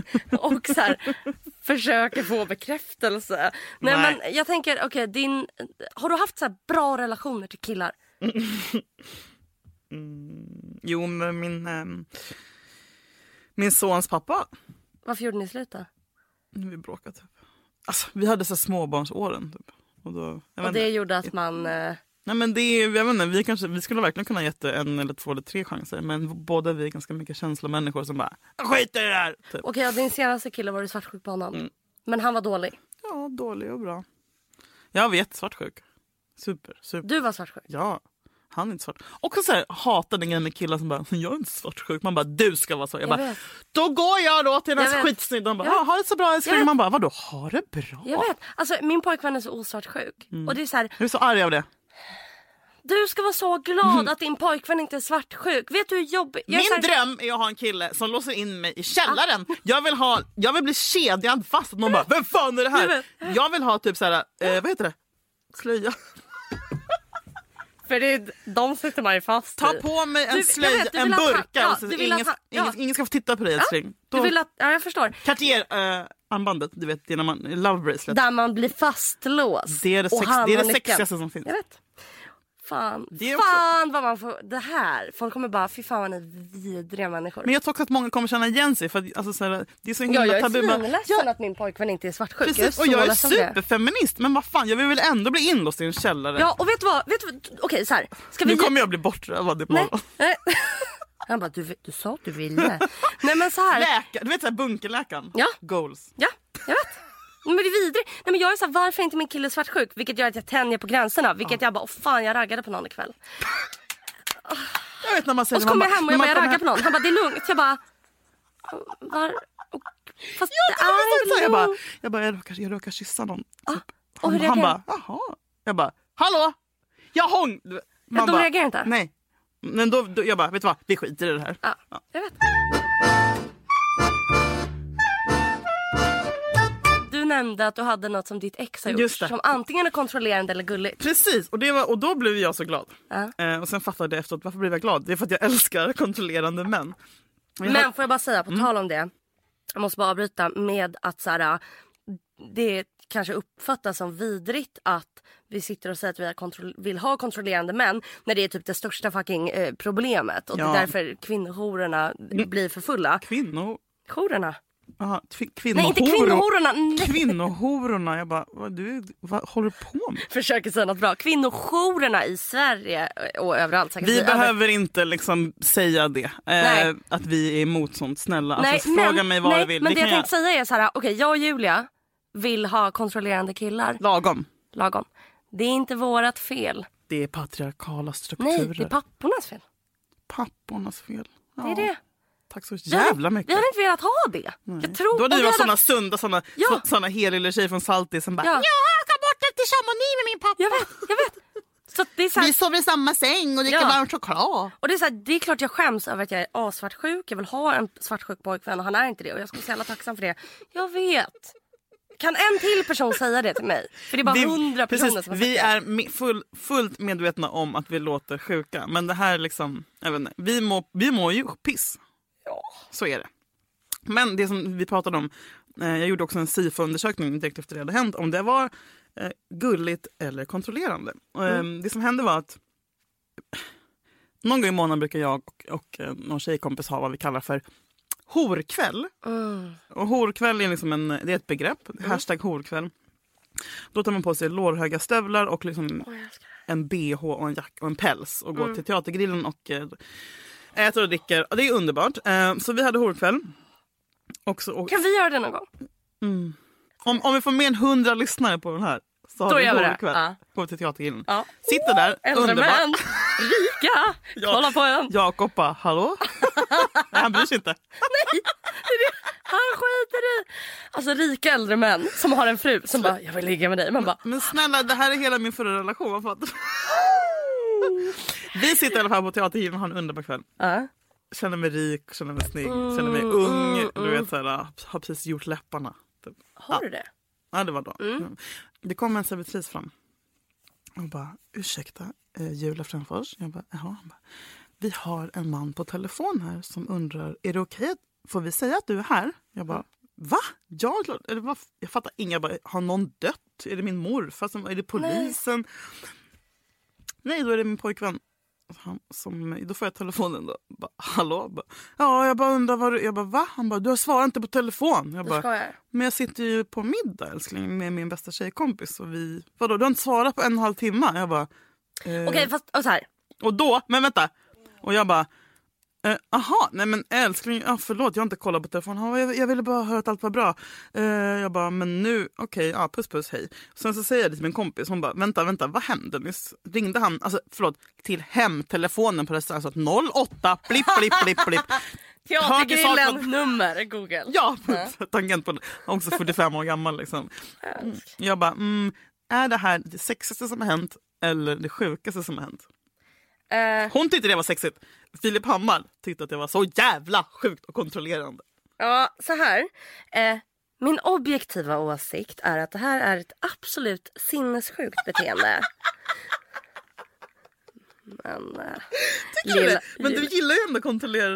[SPEAKER 1] och så här, försöker få bekräftelse. Nej,
[SPEAKER 2] Nej.
[SPEAKER 1] men jag tänker, okej, din, har du haft så här bra relationer till killar?
[SPEAKER 2] jo, men min, ehm, min sons pappa.
[SPEAKER 1] Varför gjorde ni slut då?
[SPEAKER 2] Nu har vi bråkat. Typ. Alltså, vi hade så här småbarnsåren. Typ. Och då, jag vet
[SPEAKER 1] Och det
[SPEAKER 2] inte.
[SPEAKER 1] gjorde att man... eh,
[SPEAKER 2] Nej, men det är, jag vet inte, vi, kanske, vi skulle verkligen kunna ha gett det en, eller två eller tre chanser. Men båda vi är ganska mycket känslomänniskor som bara "Jag skiter i det här. Typ.
[SPEAKER 1] Okej, och din senaste kille var du svartsjuk på honom. Men han var dålig.
[SPEAKER 2] Ja, dålig och bra. Jag vet, svartsjuk. Super, super.
[SPEAKER 1] Du var svartsjuk.
[SPEAKER 2] Ja, han är inte svart. Och så här, hatar den grejen med killar som bara, jag är inte svartsjuk. Man bara, du ska vara så. Jag,
[SPEAKER 1] Jag
[SPEAKER 2] bara,
[SPEAKER 1] vet.
[SPEAKER 2] då går jag då till den
[SPEAKER 1] Jag
[SPEAKER 2] här
[SPEAKER 1] vet.
[SPEAKER 2] skitsnygga. De bara,
[SPEAKER 1] Jag
[SPEAKER 2] ah,
[SPEAKER 1] vet.
[SPEAKER 2] ha det så bra
[SPEAKER 1] Jag
[SPEAKER 2] älskling.
[SPEAKER 1] vet.
[SPEAKER 2] Man bara, vadå ha det bra?
[SPEAKER 1] Jag vet. Alltså, min pojkvän är så osvartsjuk. Och det är så här,
[SPEAKER 2] Jag är så arg av det.
[SPEAKER 1] du ska vara så glad att din pojkvän inte är svartsjuk. Vet du hur jobbigt... jag är
[SPEAKER 2] Min
[SPEAKER 1] så här-
[SPEAKER 2] dröm är att ha en kille som låser in mig i källaren. Jag vill, ha, jag vill bli kedjad fast. Att någon bara, vem fan är
[SPEAKER 1] Jag
[SPEAKER 2] det här? Jag vill ha typ så här, eh, vad heter det? Slöja.
[SPEAKER 1] För det är de sitter man ju fast
[SPEAKER 2] Ta
[SPEAKER 1] i.
[SPEAKER 2] på mig en
[SPEAKER 1] Du- jag
[SPEAKER 2] slöja,
[SPEAKER 1] vet, du
[SPEAKER 2] en
[SPEAKER 1] vill ha
[SPEAKER 2] burka.
[SPEAKER 1] ta- ja,
[SPEAKER 2] och så
[SPEAKER 1] du vill ha
[SPEAKER 2] ingen,
[SPEAKER 1] ta- ja.
[SPEAKER 2] ingen, ingen ska få titta på dig älskling.
[SPEAKER 1] Du vill att, ja, jag förstår.
[SPEAKER 2] Cartier-armbandet, du vet det när man, love bracelet.
[SPEAKER 1] Där man blir fastlåst.
[SPEAKER 2] Det är det,
[SPEAKER 1] Och
[SPEAKER 2] sex,
[SPEAKER 1] han
[SPEAKER 2] det, är
[SPEAKER 1] har
[SPEAKER 2] det
[SPEAKER 1] nyckeln.
[SPEAKER 2] sexigaste som finns.
[SPEAKER 1] Jag vet. Fan.
[SPEAKER 2] Det är också-
[SPEAKER 1] fan vad man får... Det här. Folk kommer bara, fy fan vad ni är vidriga människor.
[SPEAKER 2] Men jag tror också att många kommer känna igen sig för att, alltså, så här, det är så
[SPEAKER 1] Ja,
[SPEAKER 2] himla
[SPEAKER 1] jag är
[SPEAKER 2] tabu. Man-
[SPEAKER 1] svinledsen att min pojkvän inte är svartsjuk. Jag är
[SPEAKER 2] Precis,
[SPEAKER 1] så
[SPEAKER 2] och jag är
[SPEAKER 1] ledsen för det.
[SPEAKER 2] superfeminist men vad fan jag vill väl ändå bli inlåst i en källare.
[SPEAKER 1] Ja, och vet du vad? Vet du, vad- okej, så här. Ska vi...
[SPEAKER 2] Nu kommer jag bli bortrövad
[SPEAKER 1] Nej.
[SPEAKER 2] imorgon.
[SPEAKER 1] Nej. Han bara, du, du sa att du ville. Nej men så här.
[SPEAKER 2] Läkare, du vet såhär bunkerläkaren?
[SPEAKER 1] Ja.
[SPEAKER 2] Goals.
[SPEAKER 1] Ja, jag vet. Men det är vidrigt. Nej, men jag är så här, varför är inte min kille svartsjuk? Vilket gör att jag tänjer på gränserna. Vilket jag bara, åh fan jag raggade på någon ikväll.
[SPEAKER 2] Jag vet när man säger
[SPEAKER 1] Och så kommer
[SPEAKER 2] man
[SPEAKER 1] jag hem och jag
[SPEAKER 2] när
[SPEAKER 1] bara,
[SPEAKER 2] man
[SPEAKER 1] jag raggar
[SPEAKER 2] kommer
[SPEAKER 1] på någon. Han bara, det är lugnt. Jag bara, var... och- Fast
[SPEAKER 2] Ja,
[SPEAKER 1] det är inte
[SPEAKER 2] så,
[SPEAKER 1] lugnt.
[SPEAKER 2] jag bara, jag, bara jag, råkar, jag råkar kyssa någon. Typ.
[SPEAKER 1] Ah, och hur
[SPEAKER 2] han, han
[SPEAKER 1] reagerar
[SPEAKER 2] bara, jaha. Jag bara, hallå! Jag hång... Man
[SPEAKER 1] de reagerar inte? Ah.
[SPEAKER 2] Nej. Men då, då, jag bara, vet du vad, vi skiter i det här.
[SPEAKER 1] Ja, jag vet. Du nämnde att du hade något som ditt ex har gjort.
[SPEAKER 2] Just det.
[SPEAKER 1] Som antingen är kontrollerande eller gulligt.
[SPEAKER 2] Precis, och, det var, och då blev jag så glad.
[SPEAKER 1] Ja.
[SPEAKER 2] Eh, och sen fattade jag efteråt, varför blev jag glad? Det är för att jag älskar kontrollerande män. Men jag
[SPEAKER 1] Men
[SPEAKER 2] har- Mm.
[SPEAKER 1] får jag bara säga, på tal om det. Jag måste bara avbryta med att så här, äh, det kanske uppfattas som vidrigt att vi sitter och säger att vi har kontroll- vill ha kontrollerande män när det är typ det största fucking eh, problemet. Och
[SPEAKER 2] Ja. Mm.
[SPEAKER 1] det är därför kvinnohororna blir för fulla.
[SPEAKER 2] Kvinno...
[SPEAKER 1] Hororna?
[SPEAKER 2] Aha, tvi- kvinnohoro.
[SPEAKER 1] Nej inte kvinnohororna! Nej.
[SPEAKER 2] Kvinnohororna. Jag bara, vad, du, vad håller du på med?
[SPEAKER 1] Försöker säga något bra. Kvinnojourerna i Sverige eh, och överallt säkert.
[SPEAKER 2] Vi
[SPEAKER 1] Över-
[SPEAKER 2] behöver inte liksom säga det. Eh,
[SPEAKER 1] Nej.
[SPEAKER 2] att vi är emot sånt. Snälla,
[SPEAKER 1] Nej,
[SPEAKER 2] alltså, fråga mig vad
[SPEAKER 1] nej,
[SPEAKER 2] du vill.
[SPEAKER 1] Men det, jag
[SPEAKER 2] kan
[SPEAKER 1] tänkte säga är så här, okej jag och Julia vill ha kontrollerande killar.
[SPEAKER 2] Lagom.
[SPEAKER 1] lagom. Det är inte vårat fel.
[SPEAKER 2] Det är patriarkala strukturer.
[SPEAKER 1] Nej, det är pappornas fel.
[SPEAKER 2] pappornas fel. Ja,
[SPEAKER 1] Det är det.
[SPEAKER 2] Tack så
[SPEAKER 1] Vi hade-
[SPEAKER 2] jävla mycket.
[SPEAKER 1] Vi hade inte velat ha det. Jag tror
[SPEAKER 2] Då hade
[SPEAKER 1] och vi
[SPEAKER 2] vi varit
[SPEAKER 1] hade-
[SPEAKER 2] såna sunda, såna,
[SPEAKER 1] Ja.
[SPEAKER 2] så, såna helylle tjejer från Saltis som bara
[SPEAKER 1] Ja.
[SPEAKER 2] jag ska bort upp till Chamonix med min pappa.
[SPEAKER 1] Jag vet, jag vet. Så att det är så här,
[SPEAKER 2] sover i samma säng och dricker
[SPEAKER 1] Ja.
[SPEAKER 2] choklad.
[SPEAKER 1] och det är så här, det är klart jag skäms över att jag är asvartsjuk. Jag vill ha en svartsjuk pojkvän och han är inte det. Och jag skulle vara så jävla tacksam för det. Jag vet. Kan en till person säga det till mig? För det är bara hundra personer
[SPEAKER 2] precis,
[SPEAKER 1] som har sagt
[SPEAKER 2] Vi
[SPEAKER 1] det.
[SPEAKER 2] är me- full, fullt medvetna om att vi låter sjuka. Men det här är liksom, jag vet inte, vi, mår, vi mår ju piss. Så är det. Men det som vi pratade om, eh, jag gjorde också en SIFO-undersökning direkt efter det hade hänt om det var eh, gulligt eller kontrollerande. Och,
[SPEAKER 1] Mm.
[SPEAKER 2] eh, Det som hände var att någon gång i månaden brukar jag och, och eh, någon tjejkompis ha vad vi kallar för horkväll.
[SPEAKER 1] Mm.
[SPEAKER 2] Och horkväll är, liksom en, det är ett begrepp, hashtag horkväll. Då tar man på sig lårhöga stövlar och liksom en bh och en jacka och en päls och går
[SPEAKER 1] Mm.
[SPEAKER 2] till teatergrillen och eh, äter och dricker. Och Det är underbart. Eh, Så vi hade horkväll. Och så, och
[SPEAKER 1] Kan vi göra det någon gång?
[SPEAKER 2] om, om vi får mer än 100 lyssnare på den här så har
[SPEAKER 1] Då
[SPEAKER 2] vi
[SPEAKER 1] gör vi det.
[SPEAKER 2] horkväll.
[SPEAKER 1] Ja.
[SPEAKER 2] Går till teatergrillen.
[SPEAKER 1] Ja.
[SPEAKER 2] Sitter där,
[SPEAKER 1] Äldre
[SPEAKER 2] underbart.
[SPEAKER 1] män, rika, kolla på en.
[SPEAKER 2] Jakob bara, hallå? Nej, han bryr sig inte.
[SPEAKER 1] Han skiter i. Alltså rika äldre män som har en fru som bara jag vill ligga med dig. Man bara
[SPEAKER 2] Men snälla, det här är hela min förra relation. Vad fattar du? Vi sitter i alla fall på teatergymmet och har en underbar kväll.
[SPEAKER 1] Ja.
[SPEAKER 2] Känner mig rik, känner mig snygg, känner mig ung. Du vet, så här, ah, har precis gjort läpparna. Typ.
[SPEAKER 1] har du det?
[SPEAKER 2] Ja, det var då. Mm. Det kom en servitris fram och bara, ursäkta, eh, Julia Fränfors? Jag bara, jaha. Han bara, vi har en man på telefon här som undrar, är det okej, att- får vi säga att du är här? Jag bara, va? Jag, är klart- eller vad? jag fattar inget, jag bara, har någon dött? Är det min morfar? Som, är det polisen? Nej, då är det min pojkvän. Han, som, då får jag telefonen då. Bara, Hallå? Jag Bara, ja, jag bara undrar vad du... Jag bara, va? Han bara, du har svarat inte på telefon. Jag bara,
[SPEAKER 1] skojar.
[SPEAKER 2] men jag sitter ju på middag älskling med min bästa tjejkompis och vi... Vadå, du har inte svarat på en och en halv timme? Jag bara,
[SPEAKER 1] Okej fast och så här.
[SPEAKER 2] och då, men vänta. Och jag bara, Eh, aha, nej men älskling, ah, förlåt jag har inte kollat på telefonen. Ah, jag, jag ville bara höra att allt var bra. Eh, jag bara, men nu, okej, ja, puss puss, hej. Sen så säger jag det till min kompis, hon bara, vänta, vänta, vad hände nyss? Ringde han, alltså förlåt, till hemtelefonen på restaurangen, alltså 08, blipp, blipp, blipp, blipp. Hörde
[SPEAKER 1] Teatergrillen
[SPEAKER 2] saker-
[SPEAKER 1] nummer Google.
[SPEAKER 2] Ja, tangent på det. Han är också 45 år gammal liksom. Mm. Jag bara, mm, är det här det sexigaste som har hänt eller det sjukaste som har hänt?
[SPEAKER 1] Eh,
[SPEAKER 2] Hon tyckte det var sexigt. Filip Hammar tyckte att det var så jävla sjukt och kontrollerande.
[SPEAKER 1] Ja, så här. Eh, min objektiva åsikt är att det här är ett absolut sinnessjukt beteende. Men... Eh,
[SPEAKER 2] Tycker du
[SPEAKER 1] lilla-
[SPEAKER 2] det? Men du
[SPEAKER 1] lilla-
[SPEAKER 2] gillar ju ändå kontroller.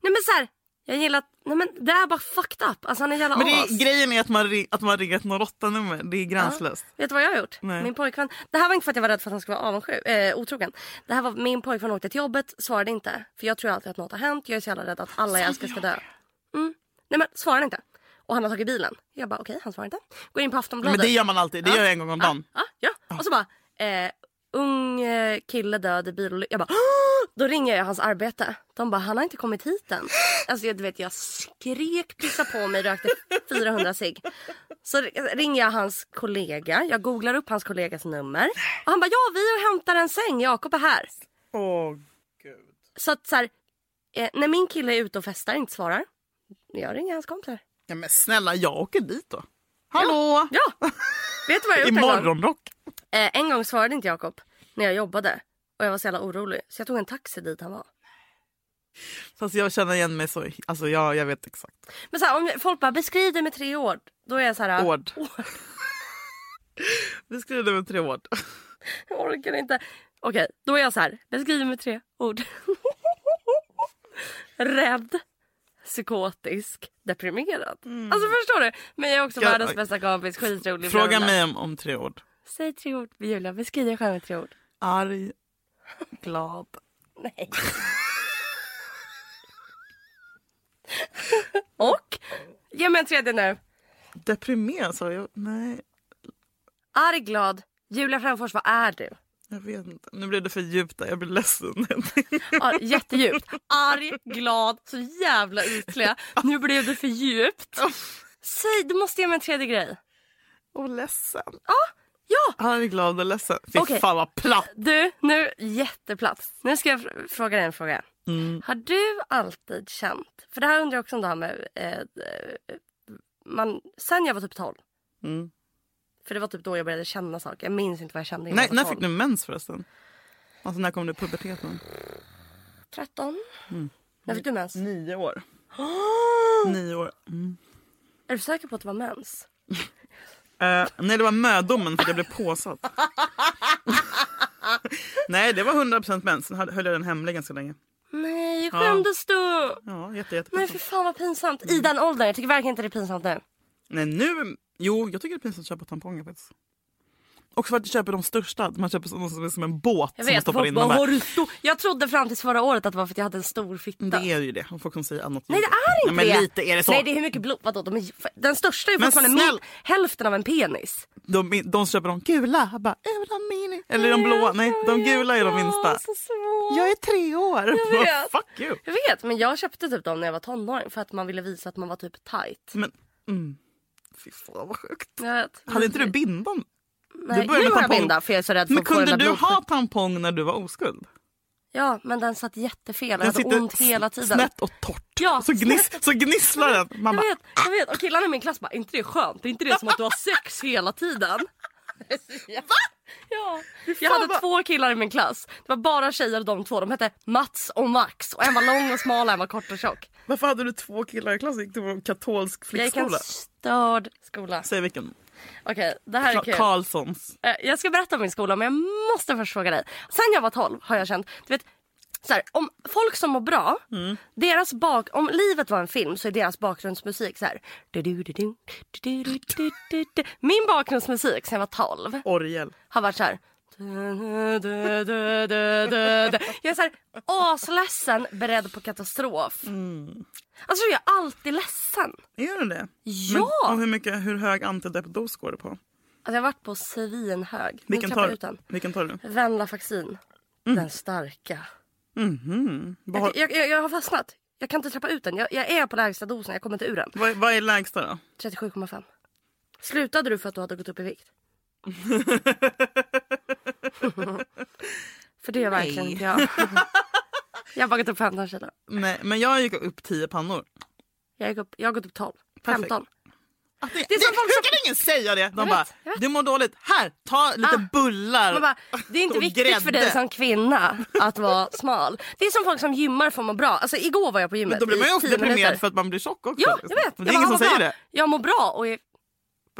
[SPEAKER 1] Nej men så här. Jag gillar att... Nej men det är bara fucked up. Alltså han är en jävla
[SPEAKER 2] Men det
[SPEAKER 1] as.
[SPEAKER 2] är, grejen är att man, ring, att man ringer ett 08-nummer. Det är gränslöst.
[SPEAKER 1] Vet du vad jag har gjort?
[SPEAKER 2] Nej.
[SPEAKER 1] Min pojkvän. Det här var inte för att jag var rädd för att han skulle vara avundsjuk, eh, otrogen. Det här var min pojkvän åkte till jobbet, svarade inte. För jag tror alltid att något har hänt. Jag är så jävla rädd att alla jag älskar ska dö. Mm. Nej men svarade inte. Och han har tagit bilen. Jag bara okej, han svarar inte. Går in på
[SPEAKER 2] Men
[SPEAKER 1] Aftonbladet.
[SPEAKER 2] det gör man alltid. Det gör jag en gång om dagen.
[SPEAKER 1] Ja, ja. Och så bara, eh, ung eh, kille död i bilolycka. Jag bara, "Åh!" då ringer jag hans arbete. De bara, han har inte kommit hit än. Alltså jag, du vet, jag skrek, pissade på mig, rökte 400 cigg. Så r- ringer jag hans kollega. Jag googlar upp hans kollegas nummer. Och han bara, ja vi är och hämtar en säng, Jakob är här.
[SPEAKER 2] Åh,
[SPEAKER 1] Så att så här, eh, när min kille är ute och festar inte svarar. Jag ringer hans kompisar.
[SPEAKER 2] ja, men snälla, jag åker dit då. Hallå!
[SPEAKER 1] Ja! Vet du vad jag har
[SPEAKER 2] I
[SPEAKER 1] gjort en gång?
[SPEAKER 2] morgonrock.
[SPEAKER 1] Eh, en gång svarade inte Jakob när jag jobbade och jag var så jävla orolig så jag tog en taxi dit han var.
[SPEAKER 2] Fast jag känner igen mig så. Alltså, jag, jag vet exakt.
[SPEAKER 1] Men så här, om folk bara beskriv det med tre ord. Då är jag så här.
[SPEAKER 2] Ord. Ah. Vi skriver det med tre ord.
[SPEAKER 1] Jag orkar inte. Okej, då är jag så här. Beskriv det med tre ord. Rädd. Psykotisk. Deprimerad. Alltså förstår du? Men jag är också
[SPEAKER 2] Jag-
[SPEAKER 1] världens bästa kompis. Skitrolig. bla,
[SPEAKER 2] Mm. Fråga
[SPEAKER 1] bla, bla.
[SPEAKER 2] mig om, om tre ord.
[SPEAKER 1] Säg tre ord. Julia, beskriv dig själv med tre ord.
[SPEAKER 2] Arg, glad.
[SPEAKER 1] Nej. Och? Ge mig en tredje nu.
[SPEAKER 2] Deprimerad sa jag. Nej,
[SPEAKER 1] Arg, glad. Julia Fränfors, vad är du?
[SPEAKER 2] jag vet inte. Nu blev det för djupt där. Jag blir ledsen.
[SPEAKER 1] Ar- jättedjupt. Arg, glad, så jävla ytliga. Nu blev det för djupt. Säg, du måste ge mig en tredje grej.
[SPEAKER 2] och ledsen. Ah,
[SPEAKER 1] Ja!
[SPEAKER 2] Arg, glad och ledsen. Fy
[SPEAKER 1] Okej.
[SPEAKER 2] fan vad platt.
[SPEAKER 1] Du, nu, jätteplatt. Nu ska jag fr- fråga dig en fråga.
[SPEAKER 2] Mm.
[SPEAKER 1] Har du alltid känt, för det här undrar jag också om det här med... Eh, eh, man, sen jag var typ 12.
[SPEAKER 2] Mm.
[SPEAKER 1] För det var typ då jag började känna saker. Jag minns inte vad jag kände innan
[SPEAKER 2] Nej,
[SPEAKER 1] jag
[SPEAKER 2] när
[SPEAKER 1] var 12.
[SPEAKER 2] fick du mens förresten? Alltså när kom du i puberteten?
[SPEAKER 1] 13.
[SPEAKER 2] Mm.
[SPEAKER 1] När fick du mens?
[SPEAKER 2] Nio år. Nio år. Mm.
[SPEAKER 1] Är du säker på att det var mens?
[SPEAKER 2] Eh, nej, det var mödomen för att jag blev påsatt. nej, det var 100% mens. Sen höll jag den hemlig ganska länge.
[SPEAKER 1] Nej, skämdes du?
[SPEAKER 2] Ja, jätte, jätte
[SPEAKER 1] Nej för fan vad pinsamt. I den åldern. Jag tycker verkligen inte det är pinsamt nu.
[SPEAKER 2] Nej nu, jo jag tycker det är pinsamt att köpa tamponger faktiskt. Också för att du köper de största, man köper sådana som är som en båt
[SPEAKER 1] Jag
[SPEAKER 2] som man
[SPEAKER 1] vet.
[SPEAKER 2] stoppar
[SPEAKER 1] Folk
[SPEAKER 2] in
[SPEAKER 1] bara,
[SPEAKER 2] dem
[SPEAKER 1] har
[SPEAKER 2] här.
[SPEAKER 1] du stor... Jag trodde fram tills förra året att det var för att jag hade en stor fitta.
[SPEAKER 2] Det är ju det, om folk som säger annat.
[SPEAKER 1] Nej det är inte
[SPEAKER 2] Nej,
[SPEAKER 1] det.
[SPEAKER 2] Men lite är det så.
[SPEAKER 1] Nej det är hur mycket blod. Vadå? De är... ju- Den största är ju
[SPEAKER 2] Men
[SPEAKER 1] fortfarande min...
[SPEAKER 2] snäll-
[SPEAKER 1] hälften av en penis.
[SPEAKER 2] de, de som köper de gula, jag bara "Är de mini. Eller de blåa, nej de gula är de minsta.
[SPEAKER 1] Åh, så svårt.
[SPEAKER 2] Jag är tre år.
[SPEAKER 1] Jag vet.
[SPEAKER 2] Fuck you.
[SPEAKER 1] Jag vet men jag köpte typ dem när jag var tonåring för att man ville visa att man var typ tight.
[SPEAKER 2] Men, mm. Fy fan vad sjukt.
[SPEAKER 1] Jag vet.
[SPEAKER 2] Hade inte du bindan?
[SPEAKER 1] Nej,
[SPEAKER 2] du började
[SPEAKER 1] nu
[SPEAKER 2] med
[SPEAKER 1] har jag
[SPEAKER 2] tampong.
[SPEAKER 1] binda för jag är så rädd för
[SPEAKER 2] Men
[SPEAKER 1] att få den
[SPEAKER 2] kunde
[SPEAKER 1] där
[SPEAKER 2] du
[SPEAKER 1] blodfläcken.
[SPEAKER 2] ha tampong när du var oskuld?
[SPEAKER 1] Ja men den satt jättefel. Jag
[SPEAKER 2] Den
[SPEAKER 1] hade ont
[SPEAKER 2] sitter
[SPEAKER 1] hela tiden.
[SPEAKER 2] snett och torrt.
[SPEAKER 1] Ja,
[SPEAKER 2] så, gniss,
[SPEAKER 1] snett.
[SPEAKER 2] så gnisslar den. Mamma,
[SPEAKER 1] Jag vet, jag vet. Och killarna i min klass bara, "Är inte det skönt? Är inte det som att du har sex hela tiden? Va? Ja. Jag hade
[SPEAKER 2] vad-
[SPEAKER 1] två killar i min klass. Det var bara tjejer och de två. De hette Mats och Max. Och en var lång och smal och en var kort och tjock.
[SPEAKER 2] Varför hade du två killar i klassen? Gick du på en katolsk
[SPEAKER 1] Jag gick i en
[SPEAKER 2] flickskola?
[SPEAKER 1] störd skola.
[SPEAKER 2] Säg vilken.
[SPEAKER 1] Okej, det här är
[SPEAKER 2] Ka-
[SPEAKER 1] kul.
[SPEAKER 2] Karlssons.
[SPEAKER 1] Eh, Jag ska berätta om min skola men jag måste först fråga dig. Sen jag var 12 har jag känt, du vet så här, om folk som mår bra,
[SPEAKER 2] Mm.
[SPEAKER 1] deras bak, om livet var en film så är deras bakgrundsmusik så här. du-du-du-du, du-du-du-du-du-du. Min bakgrundsmusik sen jag var 12
[SPEAKER 2] Orgel.
[SPEAKER 1] har varit så här. Jag är så här asledsen, beredd på katastrof.
[SPEAKER 2] Mm.
[SPEAKER 1] Alltså jag är alltid ledsen.
[SPEAKER 2] Är du det?
[SPEAKER 1] Ja!
[SPEAKER 2] Men, och hur, mycket, hur hög antideppdos går du på?
[SPEAKER 1] Alltså jag har varit på svinhög. Nu
[SPEAKER 2] Vilken
[SPEAKER 1] tappar
[SPEAKER 2] tar,
[SPEAKER 1] jag ut den.
[SPEAKER 2] vilken tar du?
[SPEAKER 1] Venlafaxin. Den starka.
[SPEAKER 2] Vad, har-
[SPEAKER 1] Jag, jag, jag har fastnat. Jag kan inte trappa ut den. Jag, jag är på lägsta dosen. Jag kommer inte ur den.
[SPEAKER 2] vad, vad är lägsta då?
[SPEAKER 1] 37,5. Slutade du för att du hade gått upp i vikt? för det är verkligen inte jag. jag har bara gått upp 15 kilo.
[SPEAKER 2] Nej, men jag gick upp 10 pannor.
[SPEAKER 1] Jag, gick upp, jag har gått upp 12.
[SPEAKER 2] Perfekt.
[SPEAKER 1] 15.
[SPEAKER 2] Att det,
[SPEAKER 1] Det är som
[SPEAKER 2] det-
[SPEAKER 1] folk
[SPEAKER 2] hur
[SPEAKER 1] som-
[SPEAKER 2] kan ingen säga det? De
[SPEAKER 1] vet,
[SPEAKER 2] bara,
[SPEAKER 1] jag vet.
[SPEAKER 2] du mår dåligt, här, ta lite
[SPEAKER 1] Ah.
[SPEAKER 2] bullar
[SPEAKER 1] Man bara, det är inte
[SPEAKER 2] och
[SPEAKER 1] viktigt för dig
[SPEAKER 2] grädde."
[SPEAKER 1] som kvinna att vara smal. Det är som folk som gymmar för att må bra. Alltså igår var jag på gymmet
[SPEAKER 2] Men då blir man ju
[SPEAKER 1] i
[SPEAKER 2] också
[SPEAKER 1] 10
[SPEAKER 2] deprimerad
[SPEAKER 1] minuter.
[SPEAKER 2] för att man blir tjock också.
[SPEAKER 1] Ja, jag vet. Jag
[SPEAKER 2] Men det är ingen
[SPEAKER 1] bara,
[SPEAKER 2] som
[SPEAKER 1] "Ah, vad
[SPEAKER 2] säger
[SPEAKER 1] bra.
[SPEAKER 2] det.
[SPEAKER 1] Jag mår bra och är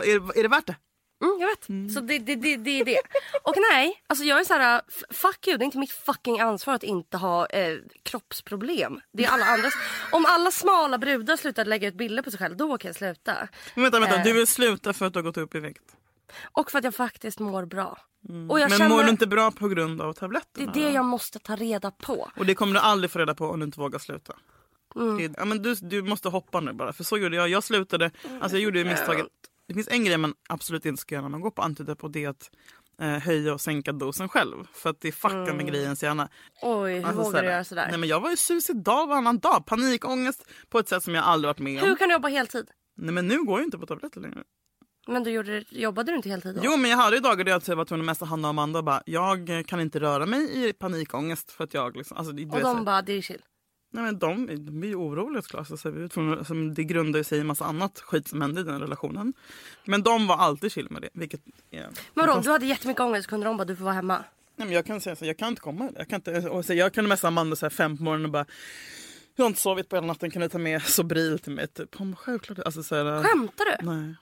[SPEAKER 2] Är, är det värt det?
[SPEAKER 1] Mm, jag vet. Så det är det, det, det är det. Och nej, alltså jag är så här, f- fuck you, det är inte mitt fucking ansvar att inte ha eh, kroppsproblem. Det är alla andras. Om alla smala brudar slutade lägga ut bilder på sig själva, då kan jag sluta.
[SPEAKER 2] Men vänta, vänta.
[SPEAKER 1] Eh.
[SPEAKER 2] Du vill sluta för att du har gått upp i vikt.
[SPEAKER 1] Och för att jag faktiskt mår bra. Och jag
[SPEAKER 2] Mm. Men
[SPEAKER 1] känner,
[SPEAKER 2] mår du inte bra på grund av
[SPEAKER 1] det är
[SPEAKER 2] tabletterna?
[SPEAKER 1] det jag måste ta reda på.
[SPEAKER 2] Och det kommer du aldrig få reda på om du inte vågar sluta.
[SPEAKER 1] Mm.
[SPEAKER 2] Det är- Ja, men du, du måste hoppa nu bara, för så gjorde jag. Jag slutade, alltså jag gjorde ju misstaget. Det finns en grej man absolut inte ska göra när man går på antidepp och det är att eh, höja och sänka dosen själv. För att det fuckar med grejens hjärna.
[SPEAKER 1] Oj, hur
[SPEAKER 2] Alltså,
[SPEAKER 1] vågar
[SPEAKER 2] såhär,
[SPEAKER 1] Mm. du göra sådär?
[SPEAKER 2] Nej, men jag var ju suicidal varannan dag. Panikångest på ett sätt som jag aldrig varit med om.
[SPEAKER 1] Hur kan du jobba heltid?
[SPEAKER 2] Nej, men nu går jag inte på tabletter längre.
[SPEAKER 1] Men du gjorde, jobbade du inte heltid då?
[SPEAKER 2] Jo men jag hade ju dagar där jag typ var tvungen att messa Hanna och Amanda och bara jag eh, kan inte röra mig i panikångest för att jag liksom, alltså, det, du
[SPEAKER 1] och
[SPEAKER 2] vet,
[SPEAKER 1] de
[SPEAKER 2] så-
[SPEAKER 1] bara, det är chill.
[SPEAKER 2] nej, men de, de blir ju oroliga såklart. Så, så vi är tvungna- alltså, det grundar ju sig i en massa annat skit som hände i den relationen. Men de var alltid chill med det. Vilket, är
[SPEAKER 1] Men vadå, om
[SPEAKER 2] fantastiskt.
[SPEAKER 1] du hade jättemycket ångest kunde de bara, du får vara hemma.
[SPEAKER 2] nej, men jag kan säga så, här, jag kan inte komma. Jag kan, inte, och så, jag kan messa Amanda så här, fem på morgonen och bara jag har inte sovit på hela natten, kan du ta med Sobril till mig? Typ. Hon bara, självklart. Alltså, så här,
[SPEAKER 1] Skämtar du?
[SPEAKER 2] Nej.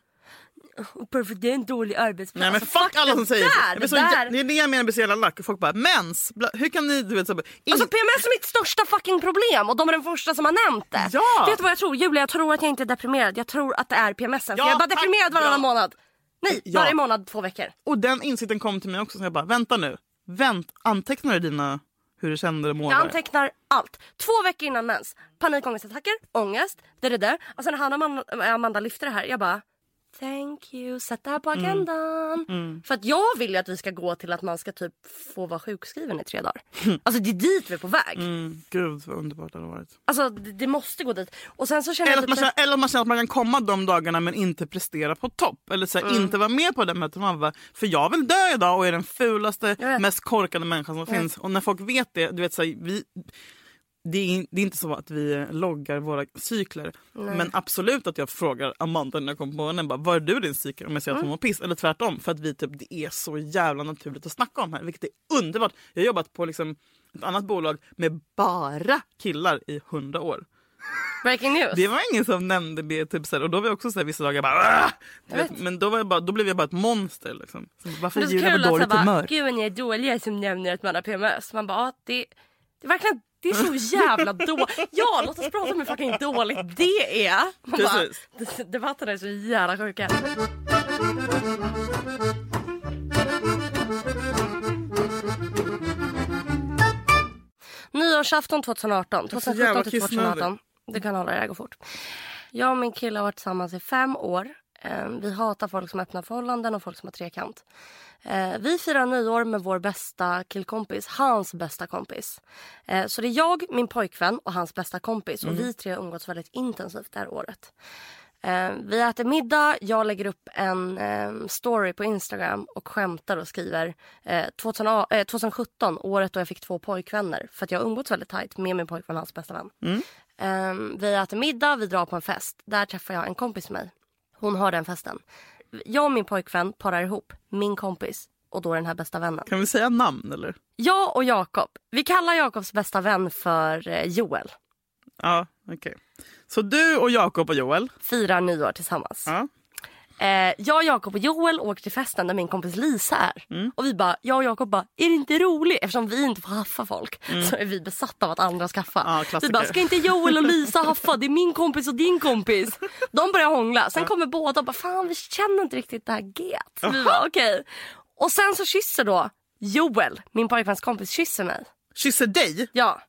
[SPEAKER 1] Perfekt, det är en dålig arbetsplats.
[SPEAKER 2] Nej men
[SPEAKER 1] Alltså,
[SPEAKER 2] fuck alla
[SPEAKER 1] det
[SPEAKER 2] som säger så.
[SPEAKER 1] där,
[SPEAKER 2] Jag blir så.
[SPEAKER 1] det
[SPEAKER 2] jä-
[SPEAKER 1] där.
[SPEAKER 2] Det är det jag menar med så jävla lack. Folk bara mens, bla, hur kan ni du vet så bara, in,
[SPEAKER 1] Alltså PMS är mitt största fucking problem och de är den första som har nämnt det.
[SPEAKER 2] Ja.
[SPEAKER 1] Vet du vad jag tror Julia? Jag tror att jag inte är deprimerad. Jag tror att det är PMS. För
[SPEAKER 2] Ja,
[SPEAKER 1] jag är bara
[SPEAKER 2] tack.
[SPEAKER 1] deprimerad varannan
[SPEAKER 2] Ja.
[SPEAKER 1] månad. Nej,
[SPEAKER 2] Ja.
[SPEAKER 1] varje månad två veckor.
[SPEAKER 2] Och den insikten kom till mig också så jag bara vänta nu. Vänt, antecknar du dina hur du kände och
[SPEAKER 1] Jag
[SPEAKER 2] målade?
[SPEAKER 1] antecknar allt. Två veckor innan mens. Panikångestattacker, ångest, det det där. Och sen när Hanna och Amanda- Amanda lyfter det här, jag bara Thank you, sätt det här
[SPEAKER 2] Mm.
[SPEAKER 1] på agendan. För att jag vill ju att vi ska gå till att man ska typ få vara sjukskriven i tre dagar. Alltså det är dit vi är på väg.
[SPEAKER 2] Mm, gud vad underbart det hade varit.
[SPEAKER 1] Alltså det, det måste gå dit. Och sen så känner
[SPEAKER 2] Eller
[SPEAKER 1] jag
[SPEAKER 2] att,
[SPEAKER 1] typ
[SPEAKER 2] man
[SPEAKER 1] så här-
[SPEAKER 2] känner, eller att man känner att man kan komma de dagarna men inte prestera på topp. Eller så här, inte vara med på det mötet. Man bara, för jag vill dö idag och är den fulaste,
[SPEAKER 1] vet.
[SPEAKER 2] mest korkade människan som finns. Och när folk vet det, du vet så här, vi, det, är, in- det är inte så att vi loggar våra cykler. Men absolut att jag frågar Amanda när jag kommer på morgonen, bara, var är du i din cykel? Om jag ser att hon mår piss. Eller tvärtom. För att vi typ, det är så jävla naturligt att snacka om här. Vilket är underbart. Jag har jobbat på liksom ett annat bolag med bara killar i hundra år.
[SPEAKER 1] Breaking news.
[SPEAKER 2] Det var ingen som nämnde det. Typ, så här, och då var jag också så här, vissa dagar bara... "Ah!" Du vet, men då, var jag bara, då blev jag bara ett monster. Liksom. Så, varför
[SPEAKER 1] Men
[SPEAKER 2] är
[SPEAKER 1] det är så
[SPEAKER 2] Julia
[SPEAKER 1] kul
[SPEAKER 2] på
[SPEAKER 1] att så här
[SPEAKER 2] dåligt
[SPEAKER 1] bara,
[SPEAKER 2] humör?
[SPEAKER 1] gud vad ni är dåliga som nämner att man har PMS. Man bara, ah, det, det är verkligen, det är så jävla dåligt. Ja, låt oss prata om hur fucking dåligt det är. Man bara,
[SPEAKER 2] Precis.
[SPEAKER 1] "Det- debatterna är så jävla sjuka. Nyårsafton 2018,
[SPEAKER 2] så jävla
[SPEAKER 1] 2017 till 2018. Du kan hålla det, det här går fort. Jag och min kille har varit tillsammans i fem år. Eh, Vi hatar folk som har öppna förhållanden och folk som har trekant. Eh, Vi firar nyår med vår bästa killkompis, hans bästa kompis. Eh, Så det är jag, min pojkvän och hans bästa kompis.
[SPEAKER 2] Mm.
[SPEAKER 1] Och vi tre har umgåtts väldigt intensivt det här året. Eh, Vi äter middag, jag lägger upp en eh, story på Instagram och skämtar och skriver eh, 2000, eh, 2017, året då jag fick två pojkvänner. För att jag har umgåtts väldigt tajt med min pojkvän och hans bästa vän. Eh, Vi äter middag, vi drar på en fest. Där träffar jag en kompis med mig. Hon har den festen. Jag och min pojkvän parar ihop min kompis och då den här bästa vännen.
[SPEAKER 2] Kan vi säga namn eller?
[SPEAKER 1] Jag och Jakob. Vi kallar Jakobs bästa vän för eh, Joel.
[SPEAKER 2] Ja, okej. Så du och Jakob och Joel.
[SPEAKER 1] Firar nyår tillsammans.
[SPEAKER 2] Ja.
[SPEAKER 1] Eh, jag, Jakob och Joel åker till festen där min kompis Lisa är.
[SPEAKER 2] Mm.
[SPEAKER 1] Och vi bara, jag och Jakob bara, är det inte roligt? Eftersom vi inte får haffa folk så är vi besatta av att andra ska haffa.
[SPEAKER 2] Mm. Ja,
[SPEAKER 1] vi
[SPEAKER 2] klassiker.
[SPEAKER 1] bara, ska inte Joel och Lisa haffa? Det är min kompis och din kompis. De börjar hångla. Sen kommer båda och bara, fan vi känner inte riktigt det här get. Så Vi bara, okej. Och sen så kysser då Joel, min pojkväns kompis, kysser mig.
[SPEAKER 2] Kysser dig?
[SPEAKER 1] Ja.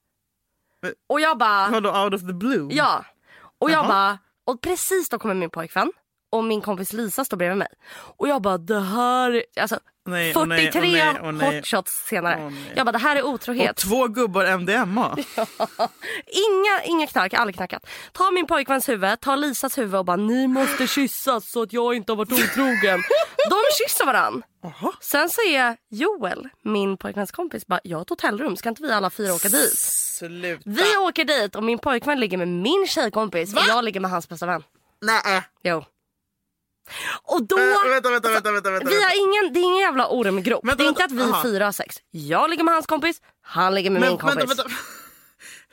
[SPEAKER 2] Men-
[SPEAKER 1] Och jag bara...
[SPEAKER 2] Vadå out of the blue?
[SPEAKER 1] Ja. Och jag bara, och precis då kommer min pojkvän och min kompis Lisa står bredvid mig. Och jag bara, det här, är- alltså
[SPEAKER 2] nej, åh nej, åh
[SPEAKER 1] 43
[SPEAKER 2] nej, åh nej.
[SPEAKER 1] hot shots senare.
[SPEAKER 2] Åh, nej.
[SPEAKER 1] jag bara, det här är
[SPEAKER 2] Och
[SPEAKER 1] otrohet.
[SPEAKER 2] två gubbar MDMA.
[SPEAKER 1] Inga, inga knark, aldrig knarkat. Ta min pojkväns huvud, ta Lisas huvud och bara ni måste kyssas så att jag inte har varit otrogen. De kysser varann. Sen så är Joel, min pojkväns kompis, bara jag har ett hotellrum, ska inte vi alla fyra åka dit?
[SPEAKER 2] Sluta.
[SPEAKER 1] Vi åker dit och min pojkvän ligger med min tjejkompis och jag ligger med hans bästa vän.
[SPEAKER 2] Nej.
[SPEAKER 1] Jo. Och då...
[SPEAKER 2] Äh, vänta, vänta, vänta, vänta, vänta.
[SPEAKER 1] Vi har ingen, det är ingen jävla ormgrop.
[SPEAKER 2] Vänta,
[SPEAKER 1] det är inte att
[SPEAKER 2] vänta,
[SPEAKER 1] vi
[SPEAKER 2] aha.
[SPEAKER 1] fyra har sex. Jag ligger med hans kompis, han ligger med min kompis.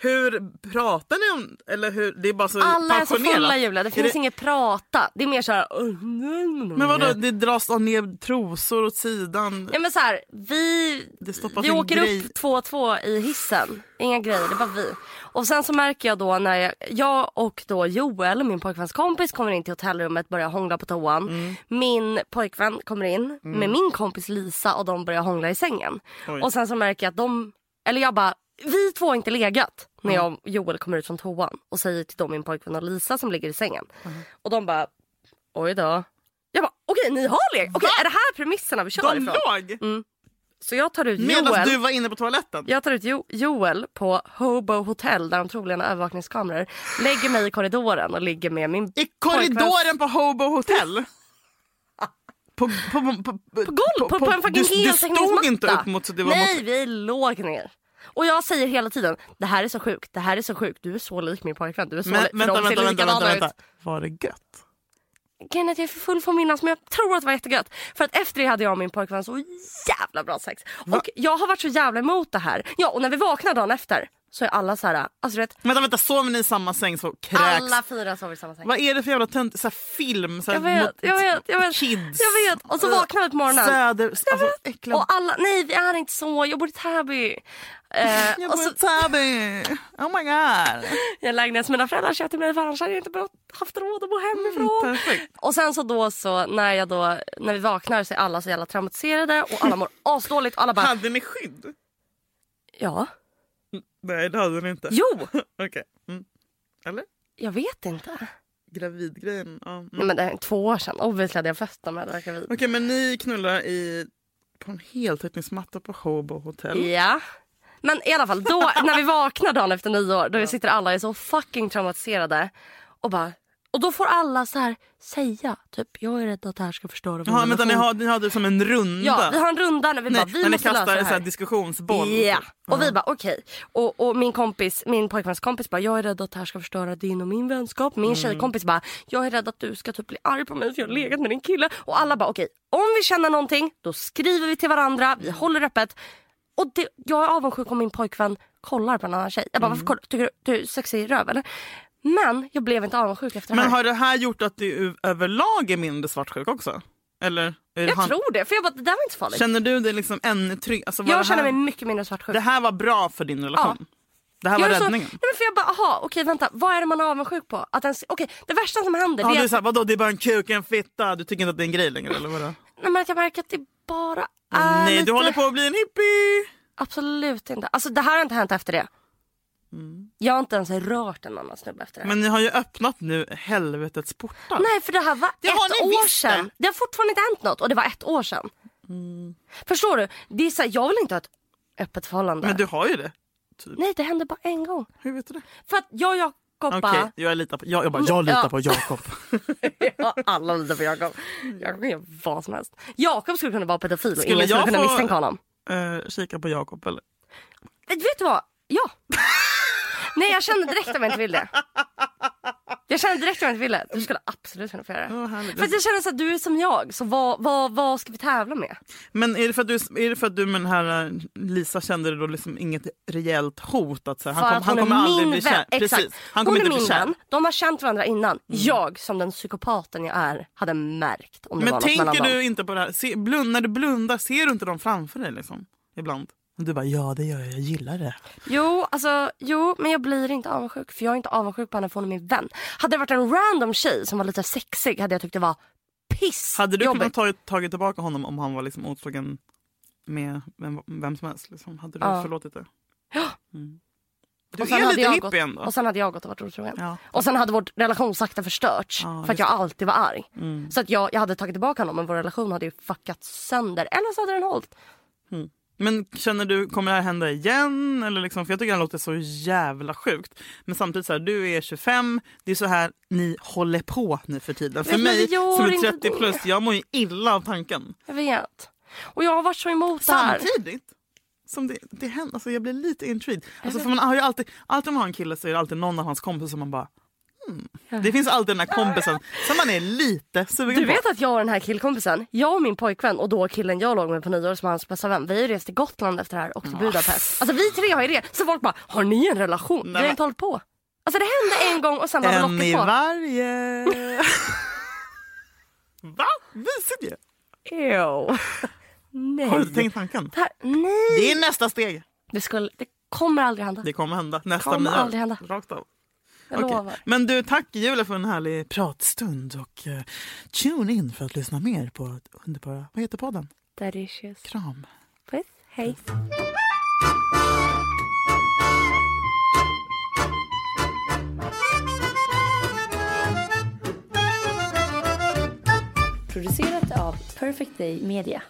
[SPEAKER 2] Hur pratar ni om... Eller hur, det är bara så
[SPEAKER 1] Alla är så
[SPEAKER 2] passionerat.
[SPEAKER 1] fulla Julia, det
[SPEAKER 2] Är
[SPEAKER 1] finns inget prata. Det är mer så här... Men
[SPEAKER 2] Men vadå, det dras ner trosor åt sidan.
[SPEAKER 1] Ja, men så här, vi
[SPEAKER 2] Det stoppas
[SPEAKER 1] vi
[SPEAKER 2] en
[SPEAKER 1] åker
[SPEAKER 2] grej.
[SPEAKER 1] upp två och två i hissen. Inga grejer, det är bara vi. Och sen så märker jag då när jag, jag och då Joel, min pojkväns kompis, kommer in till hotellrummet börjar hångla på toan.
[SPEAKER 2] Mm.
[SPEAKER 1] Min pojkvän kommer in med min kompis Lisa och de börjar hångla i sängen.
[SPEAKER 2] Oj.
[SPEAKER 1] Och sen så märker jag att de, eller jag bara, vi två har inte legat. När
[SPEAKER 2] Mm.
[SPEAKER 1] jag och Joel kommer ut från toan och säger till dem min pojkvän och Lisa som ligger i sängen.
[SPEAKER 2] Mm.
[SPEAKER 1] Och de bara, oj då. Jag bara, okej ni har legat? Okej är det här premisserna vi kör
[SPEAKER 2] De
[SPEAKER 1] ifrån? Mm.
[SPEAKER 2] låg!
[SPEAKER 1] Så jag tar ut
[SPEAKER 2] Medan
[SPEAKER 1] Joel.
[SPEAKER 2] du var inne på toaletten.
[SPEAKER 1] Jag tar ut jo- Joel på Hobo Hotel där de troligen har övervakningskameror. Lägger mig i korridoren och ligger med min
[SPEAKER 2] I korridoren på Hobo Hotel. På, på, på, på,
[SPEAKER 1] på golv på, på, en fucking
[SPEAKER 2] du, du stod
[SPEAKER 1] heltäckningsmatta.
[SPEAKER 2] inte upp mot... Det var
[SPEAKER 1] Nej,
[SPEAKER 2] mot
[SPEAKER 1] vi låg ner. Och jag säger hela tiden, det här är så sjukt, det här är så sjukt, du är så lik min pojkvän, du är så
[SPEAKER 2] men,
[SPEAKER 1] lik, för
[SPEAKER 2] vänta,
[SPEAKER 1] de ser
[SPEAKER 2] vänta, vänta,
[SPEAKER 1] likadana
[SPEAKER 2] vänta, vänta.
[SPEAKER 1] ut.
[SPEAKER 2] Var det gött?
[SPEAKER 1] Grejen är att jag är för full för att minnas men jag tror att det var jättegött. För att efter det hade jag och min pojkvän så jävla bra sex. Och jag har varit så jävla emot det här. Ja och när vi vaknar dagen efter så är alla så här, alltså du vet,
[SPEAKER 2] Vänta, vänta, sover ni i samma säng så kräks
[SPEAKER 1] alla fyra sover i samma säng.
[SPEAKER 2] Vad är det för jävla tönt, så här film? Så här,
[SPEAKER 1] Jag vet, jag vet, jag vet.
[SPEAKER 2] Kids.
[SPEAKER 1] Jag vet. Och så vaknar vi på morgonen.
[SPEAKER 2] Söder, alltså äckliga.
[SPEAKER 1] Och alla, nej vi är inte så, jag bor i Täby. Eh,
[SPEAKER 2] jag
[SPEAKER 1] och
[SPEAKER 2] bor i
[SPEAKER 1] så,
[SPEAKER 2] Täby. Oh my god.
[SPEAKER 1] jag lägenhet som mina föräldrar köpte till mig för annars hade jag inte bott- haft råd att bo hemifrån.
[SPEAKER 2] Mm, perfekt.
[SPEAKER 1] och sen så då så när jag då, när vi vaknar så är alla så jävla traumatiserade och alla mår asdåligt och alla bara
[SPEAKER 2] Hade ni skydd?
[SPEAKER 1] ja,
[SPEAKER 2] Nej, det hade ni inte.
[SPEAKER 1] jo,
[SPEAKER 2] Okej. Mm. Eller?
[SPEAKER 1] jag vet inte.
[SPEAKER 2] Gravidgrejen. Ja. Mm.
[SPEAKER 1] Nej men det här är två år sedan, obviously hade jag fött om jag hade varit gravid.
[SPEAKER 2] Okej, men ni knullar i, på en heltäckningsmatta på Hobo Hotel.
[SPEAKER 1] Ja. Men i alla fall, då, när vi vaknar dagen efter nyår då sitter alla och är så fucking traumatiserade. Och, bara, och då får alla så här säga, typ jag är rädd att det här ska förstöra vår
[SPEAKER 2] Jaha, vänta, ni
[SPEAKER 1] relation."
[SPEAKER 2] har, ni har det som en runda?
[SPEAKER 1] Ja, vi har en runda när vi
[SPEAKER 2] Nej,
[SPEAKER 1] bara, vi
[SPEAKER 2] när ni
[SPEAKER 1] måste
[SPEAKER 2] kastar
[SPEAKER 1] lösa det
[SPEAKER 2] en sån här
[SPEAKER 1] här.
[SPEAKER 2] diskussionsboll.
[SPEAKER 1] Ja, och vi bara okej. Och, och min kompis, min pojkväns kompis bara jag är rädd att det här ska förstöra din och min vänskap.
[SPEAKER 2] Mm.
[SPEAKER 1] Min tjejkompis bara jag är rädd att du ska typ bli arg på mig för jag har legat med din kille. Och alla bara okej, om vi känner någonting då skriver vi till varandra, vi
[SPEAKER 2] Mm.
[SPEAKER 1] håller öppet. Och det, jag är avundsjuk om min pojkvän kollar på en annan tjej. Jag bara
[SPEAKER 2] Mm.
[SPEAKER 1] varför kollar, tycker du, du är sexig röv eller? Men jag blev inte avundsjuk efter det
[SPEAKER 2] Men
[SPEAKER 1] här.
[SPEAKER 2] har det här gjort att du överlag är mindre svartsjuk också? Eller? är
[SPEAKER 1] Jag
[SPEAKER 2] han-
[SPEAKER 1] tror det, för jag bara det där var inte så farligt.
[SPEAKER 2] Känner du dig liksom ännu trygg? Alltså, var det
[SPEAKER 1] jag känner
[SPEAKER 2] här,
[SPEAKER 1] mig mycket mindre svartsjuk.
[SPEAKER 2] Det här var bra för din relation?
[SPEAKER 1] Ja.
[SPEAKER 2] Det här
[SPEAKER 1] Jag
[SPEAKER 2] var
[SPEAKER 1] är så, nej
[SPEAKER 2] räddningen?
[SPEAKER 1] men för jag bara, aha, okej vänta, vad är det man är avundsjuk på? Att ens, okej, det värsta som händer
[SPEAKER 2] Ja,
[SPEAKER 1] det
[SPEAKER 2] du
[SPEAKER 1] är,
[SPEAKER 2] är
[SPEAKER 1] att,
[SPEAKER 2] såhär, vadå det är bara en kuk, en fitta, du tycker inte att det är en grej längre eller vadå?
[SPEAKER 1] nej, men att jag märker att det bara är
[SPEAKER 2] Nej,
[SPEAKER 1] lite...
[SPEAKER 2] du håller på att bli en hippie!
[SPEAKER 1] Absolut inte. Alltså det här har inte hänt efter det. Jag har inte ens rört en annan snubbe efter det här.
[SPEAKER 2] Mm. Men ni har ju öppnat nu helvetets portar.
[SPEAKER 1] Nej för det här var
[SPEAKER 2] Det
[SPEAKER 1] ett
[SPEAKER 2] har ni
[SPEAKER 1] år
[SPEAKER 2] visst
[SPEAKER 1] sedan.
[SPEAKER 2] det. Mm.
[SPEAKER 1] Det har fortfarande inte hänt något och det var ett år sedan. Förstår du? Det är så här, jag vill inte ha ett öppet förhållande.
[SPEAKER 2] Men du har ju det.
[SPEAKER 1] Nej det hände bara en gång.
[SPEAKER 2] Hur vet du det?
[SPEAKER 1] För att jag och Jakob
[SPEAKER 2] Okej,
[SPEAKER 1] bara...
[SPEAKER 2] jag litar på, jag, jag, bara, jag litar
[SPEAKER 1] Ja.
[SPEAKER 2] på Jakob.
[SPEAKER 1] Ja, alla litar på Jakob. Jakob kan göra vad som helst. Jakob skulle kunna vara pedofil och
[SPEAKER 2] Skulle
[SPEAKER 1] ingen skulle
[SPEAKER 2] jag
[SPEAKER 1] kunna
[SPEAKER 2] få-
[SPEAKER 1] misstänka honom.
[SPEAKER 2] Eh, kika på Jakob eller?
[SPEAKER 1] Eh, Vet du vad? Ja. Nej, jag kände direkt om jag inte ville. Jag kände direkt om jag inte ville. Du skulle absolut kunna få göra det.
[SPEAKER 2] vad härligt.
[SPEAKER 1] För att jag känner så att du är som jag, så vad, vad, vad ska vi tävla med?
[SPEAKER 2] Men är det, för att du, är det för att du med den här eh, Lisa kände det då liksom inget rejält hot? Att, så
[SPEAKER 1] För
[SPEAKER 2] här, han, kom,
[SPEAKER 1] att
[SPEAKER 2] han
[SPEAKER 1] hon är
[SPEAKER 2] kommer aldrig
[SPEAKER 1] min
[SPEAKER 2] bli
[SPEAKER 1] vän.
[SPEAKER 2] kär.
[SPEAKER 1] Exakt.
[SPEAKER 2] Precis. Han
[SPEAKER 1] hon
[SPEAKER 2] kommer
[SPEAKER 1] är
[SPEAKER 2] inte
[SPEAKER 1] min
[SPEAKER 2] bli kär. Mm.
[SPEAKER 1] vän. De har känt varandra innan. Jag, som den psykopaten jag är, hade märkt om det var
[SPEAKER 2] Men
[SPEAKER 1] något mellan
[SPEAKER 2] tänker
[SPEAKER 1] dem.
[SPEAKER 2] du inte på det här? Se, blund, när du blundar, ser du inte dem framför dig liksom? Ibland. Och Du bara ja det gör jag, jag gillar det.
[SPEAKER 1] Jo, alltså, jo, men jag blir inte avundsjuk. För jag är inte avundsjuk på henne för hon är min vän. Hade det varit en random tjej som var lite sexig hade jag tyckt det var piss.
[SPEAKER 2] Hade du kunnat ta, tagit tillbaka honom om han var liksom otrogen med vem, vem som helst? Liksom? Hade du
[SPEAKER 1] Ja.
[SPEAKER 2] förlåtit det? Du
[SPEAKER 1] Och sen
[SPEAKER 2] är
[SPEAKER 1] hade
[SPEAKER 2] lite
[SPEAKER 1] jag
[SPEAKER 2] hippie
[SPEAKER 1] gått-
[SPEAKER 2] ändå.
[SPEAKER 1] Och sen hade jag gått och varit otrogen.
[SPEAKER 2] Ja.
[SPEAKER 1] Och sen hade vår relation sakta förstörts för att jag alltid var arg.
[SPEAKER 2] Mm.
[SPEAKER 1] Så att jag, jag hade tagit tillbaka honom men vår relation hade ju fuckat sönder. Eller så hade den hållit.
[SPEAKER 2] Men känner du, kommer det här hända igen? Eller liksom, för jag tycker det här låter så jävla sjukt. Men samtidigt, så här, du är 25, det är så här ni håller på nu för tiden. För
[SPEAKER 1] Men det
[SPEAKER 2] mig
[SPEAKER 1] gör
[SPEAKER 2] som
[SPEAKER 1] inte
[SPEAKER 2] är 30 plus,
[SPEAKER 1] det.
[SPEAKER 2] jag mår ju illa av tanken.
[SPEAKER 1] Jag vet. Och jag har varit så emot det här.
[SPEAKER 2] Samtidigt som det, det händer, alltså jag blir lite intrigued. Alltså, för man har ju alltid, alltid om man har en kille så är det alltid någon av hans kompisar som man bara hmm. Det finns alltid den här kompisen som man är lite sugen
[SPEAKER 1] Du vet
[SPEAKER 2] på.
[SPEAKER 1] att jag och den här killkompisen, jag och min pojkvän och då killen jag låg med på nyår som var hans bästa vän, vi har ju rest till Gotland efter det här och
[SPEAKER 2] Mm.
[SPEAKER 1] till Budapest. Alltså vi tre har ju det. Så folk bara, har ni en relation? vi har
[SPEAKER 2] men-
[SPEAKER 1] inte hållit på. Alltså det hände en gång och sen har det
[SPEAKER 2] En i
[SPEAKER 1] locket på.
[SPEAKER 2] varje. Va? Visigt ju!
[SPEAKER 1] Ew. Nej.
[SPEAKER 2] Har du inte tänkt tanken?
[SPEAKER 1] Det här, nej.
[SPEAKER 2] Det är nästa steg.
[SPEAKER 1] Det, skulle, det kommer aldrig hända.
[SPEAKER 2] Det kommer hända. Nästa
[SPEAKER 1] Kommer
[SPEAKER 2] nyår.
[SPEAKER 1] aldrig hända.
[SPEAKER 2] Rakt av.
[SPEAKER 1] Jag
[SPEAKER 2] Okej.
[SPEAKER 1] lovar.
[SPEAKER 2] Men du, tack Julia för en härlig pratstund och eh, tune in för att lyssna mer på underbara, vad heter podden?
[SPEAKER 1] Delicious.
[SPEAKER 2] Kram.
[SPEAKER 1] Puss. Hej.
[SPEAKER 3] Producerat av Perfect Day Media.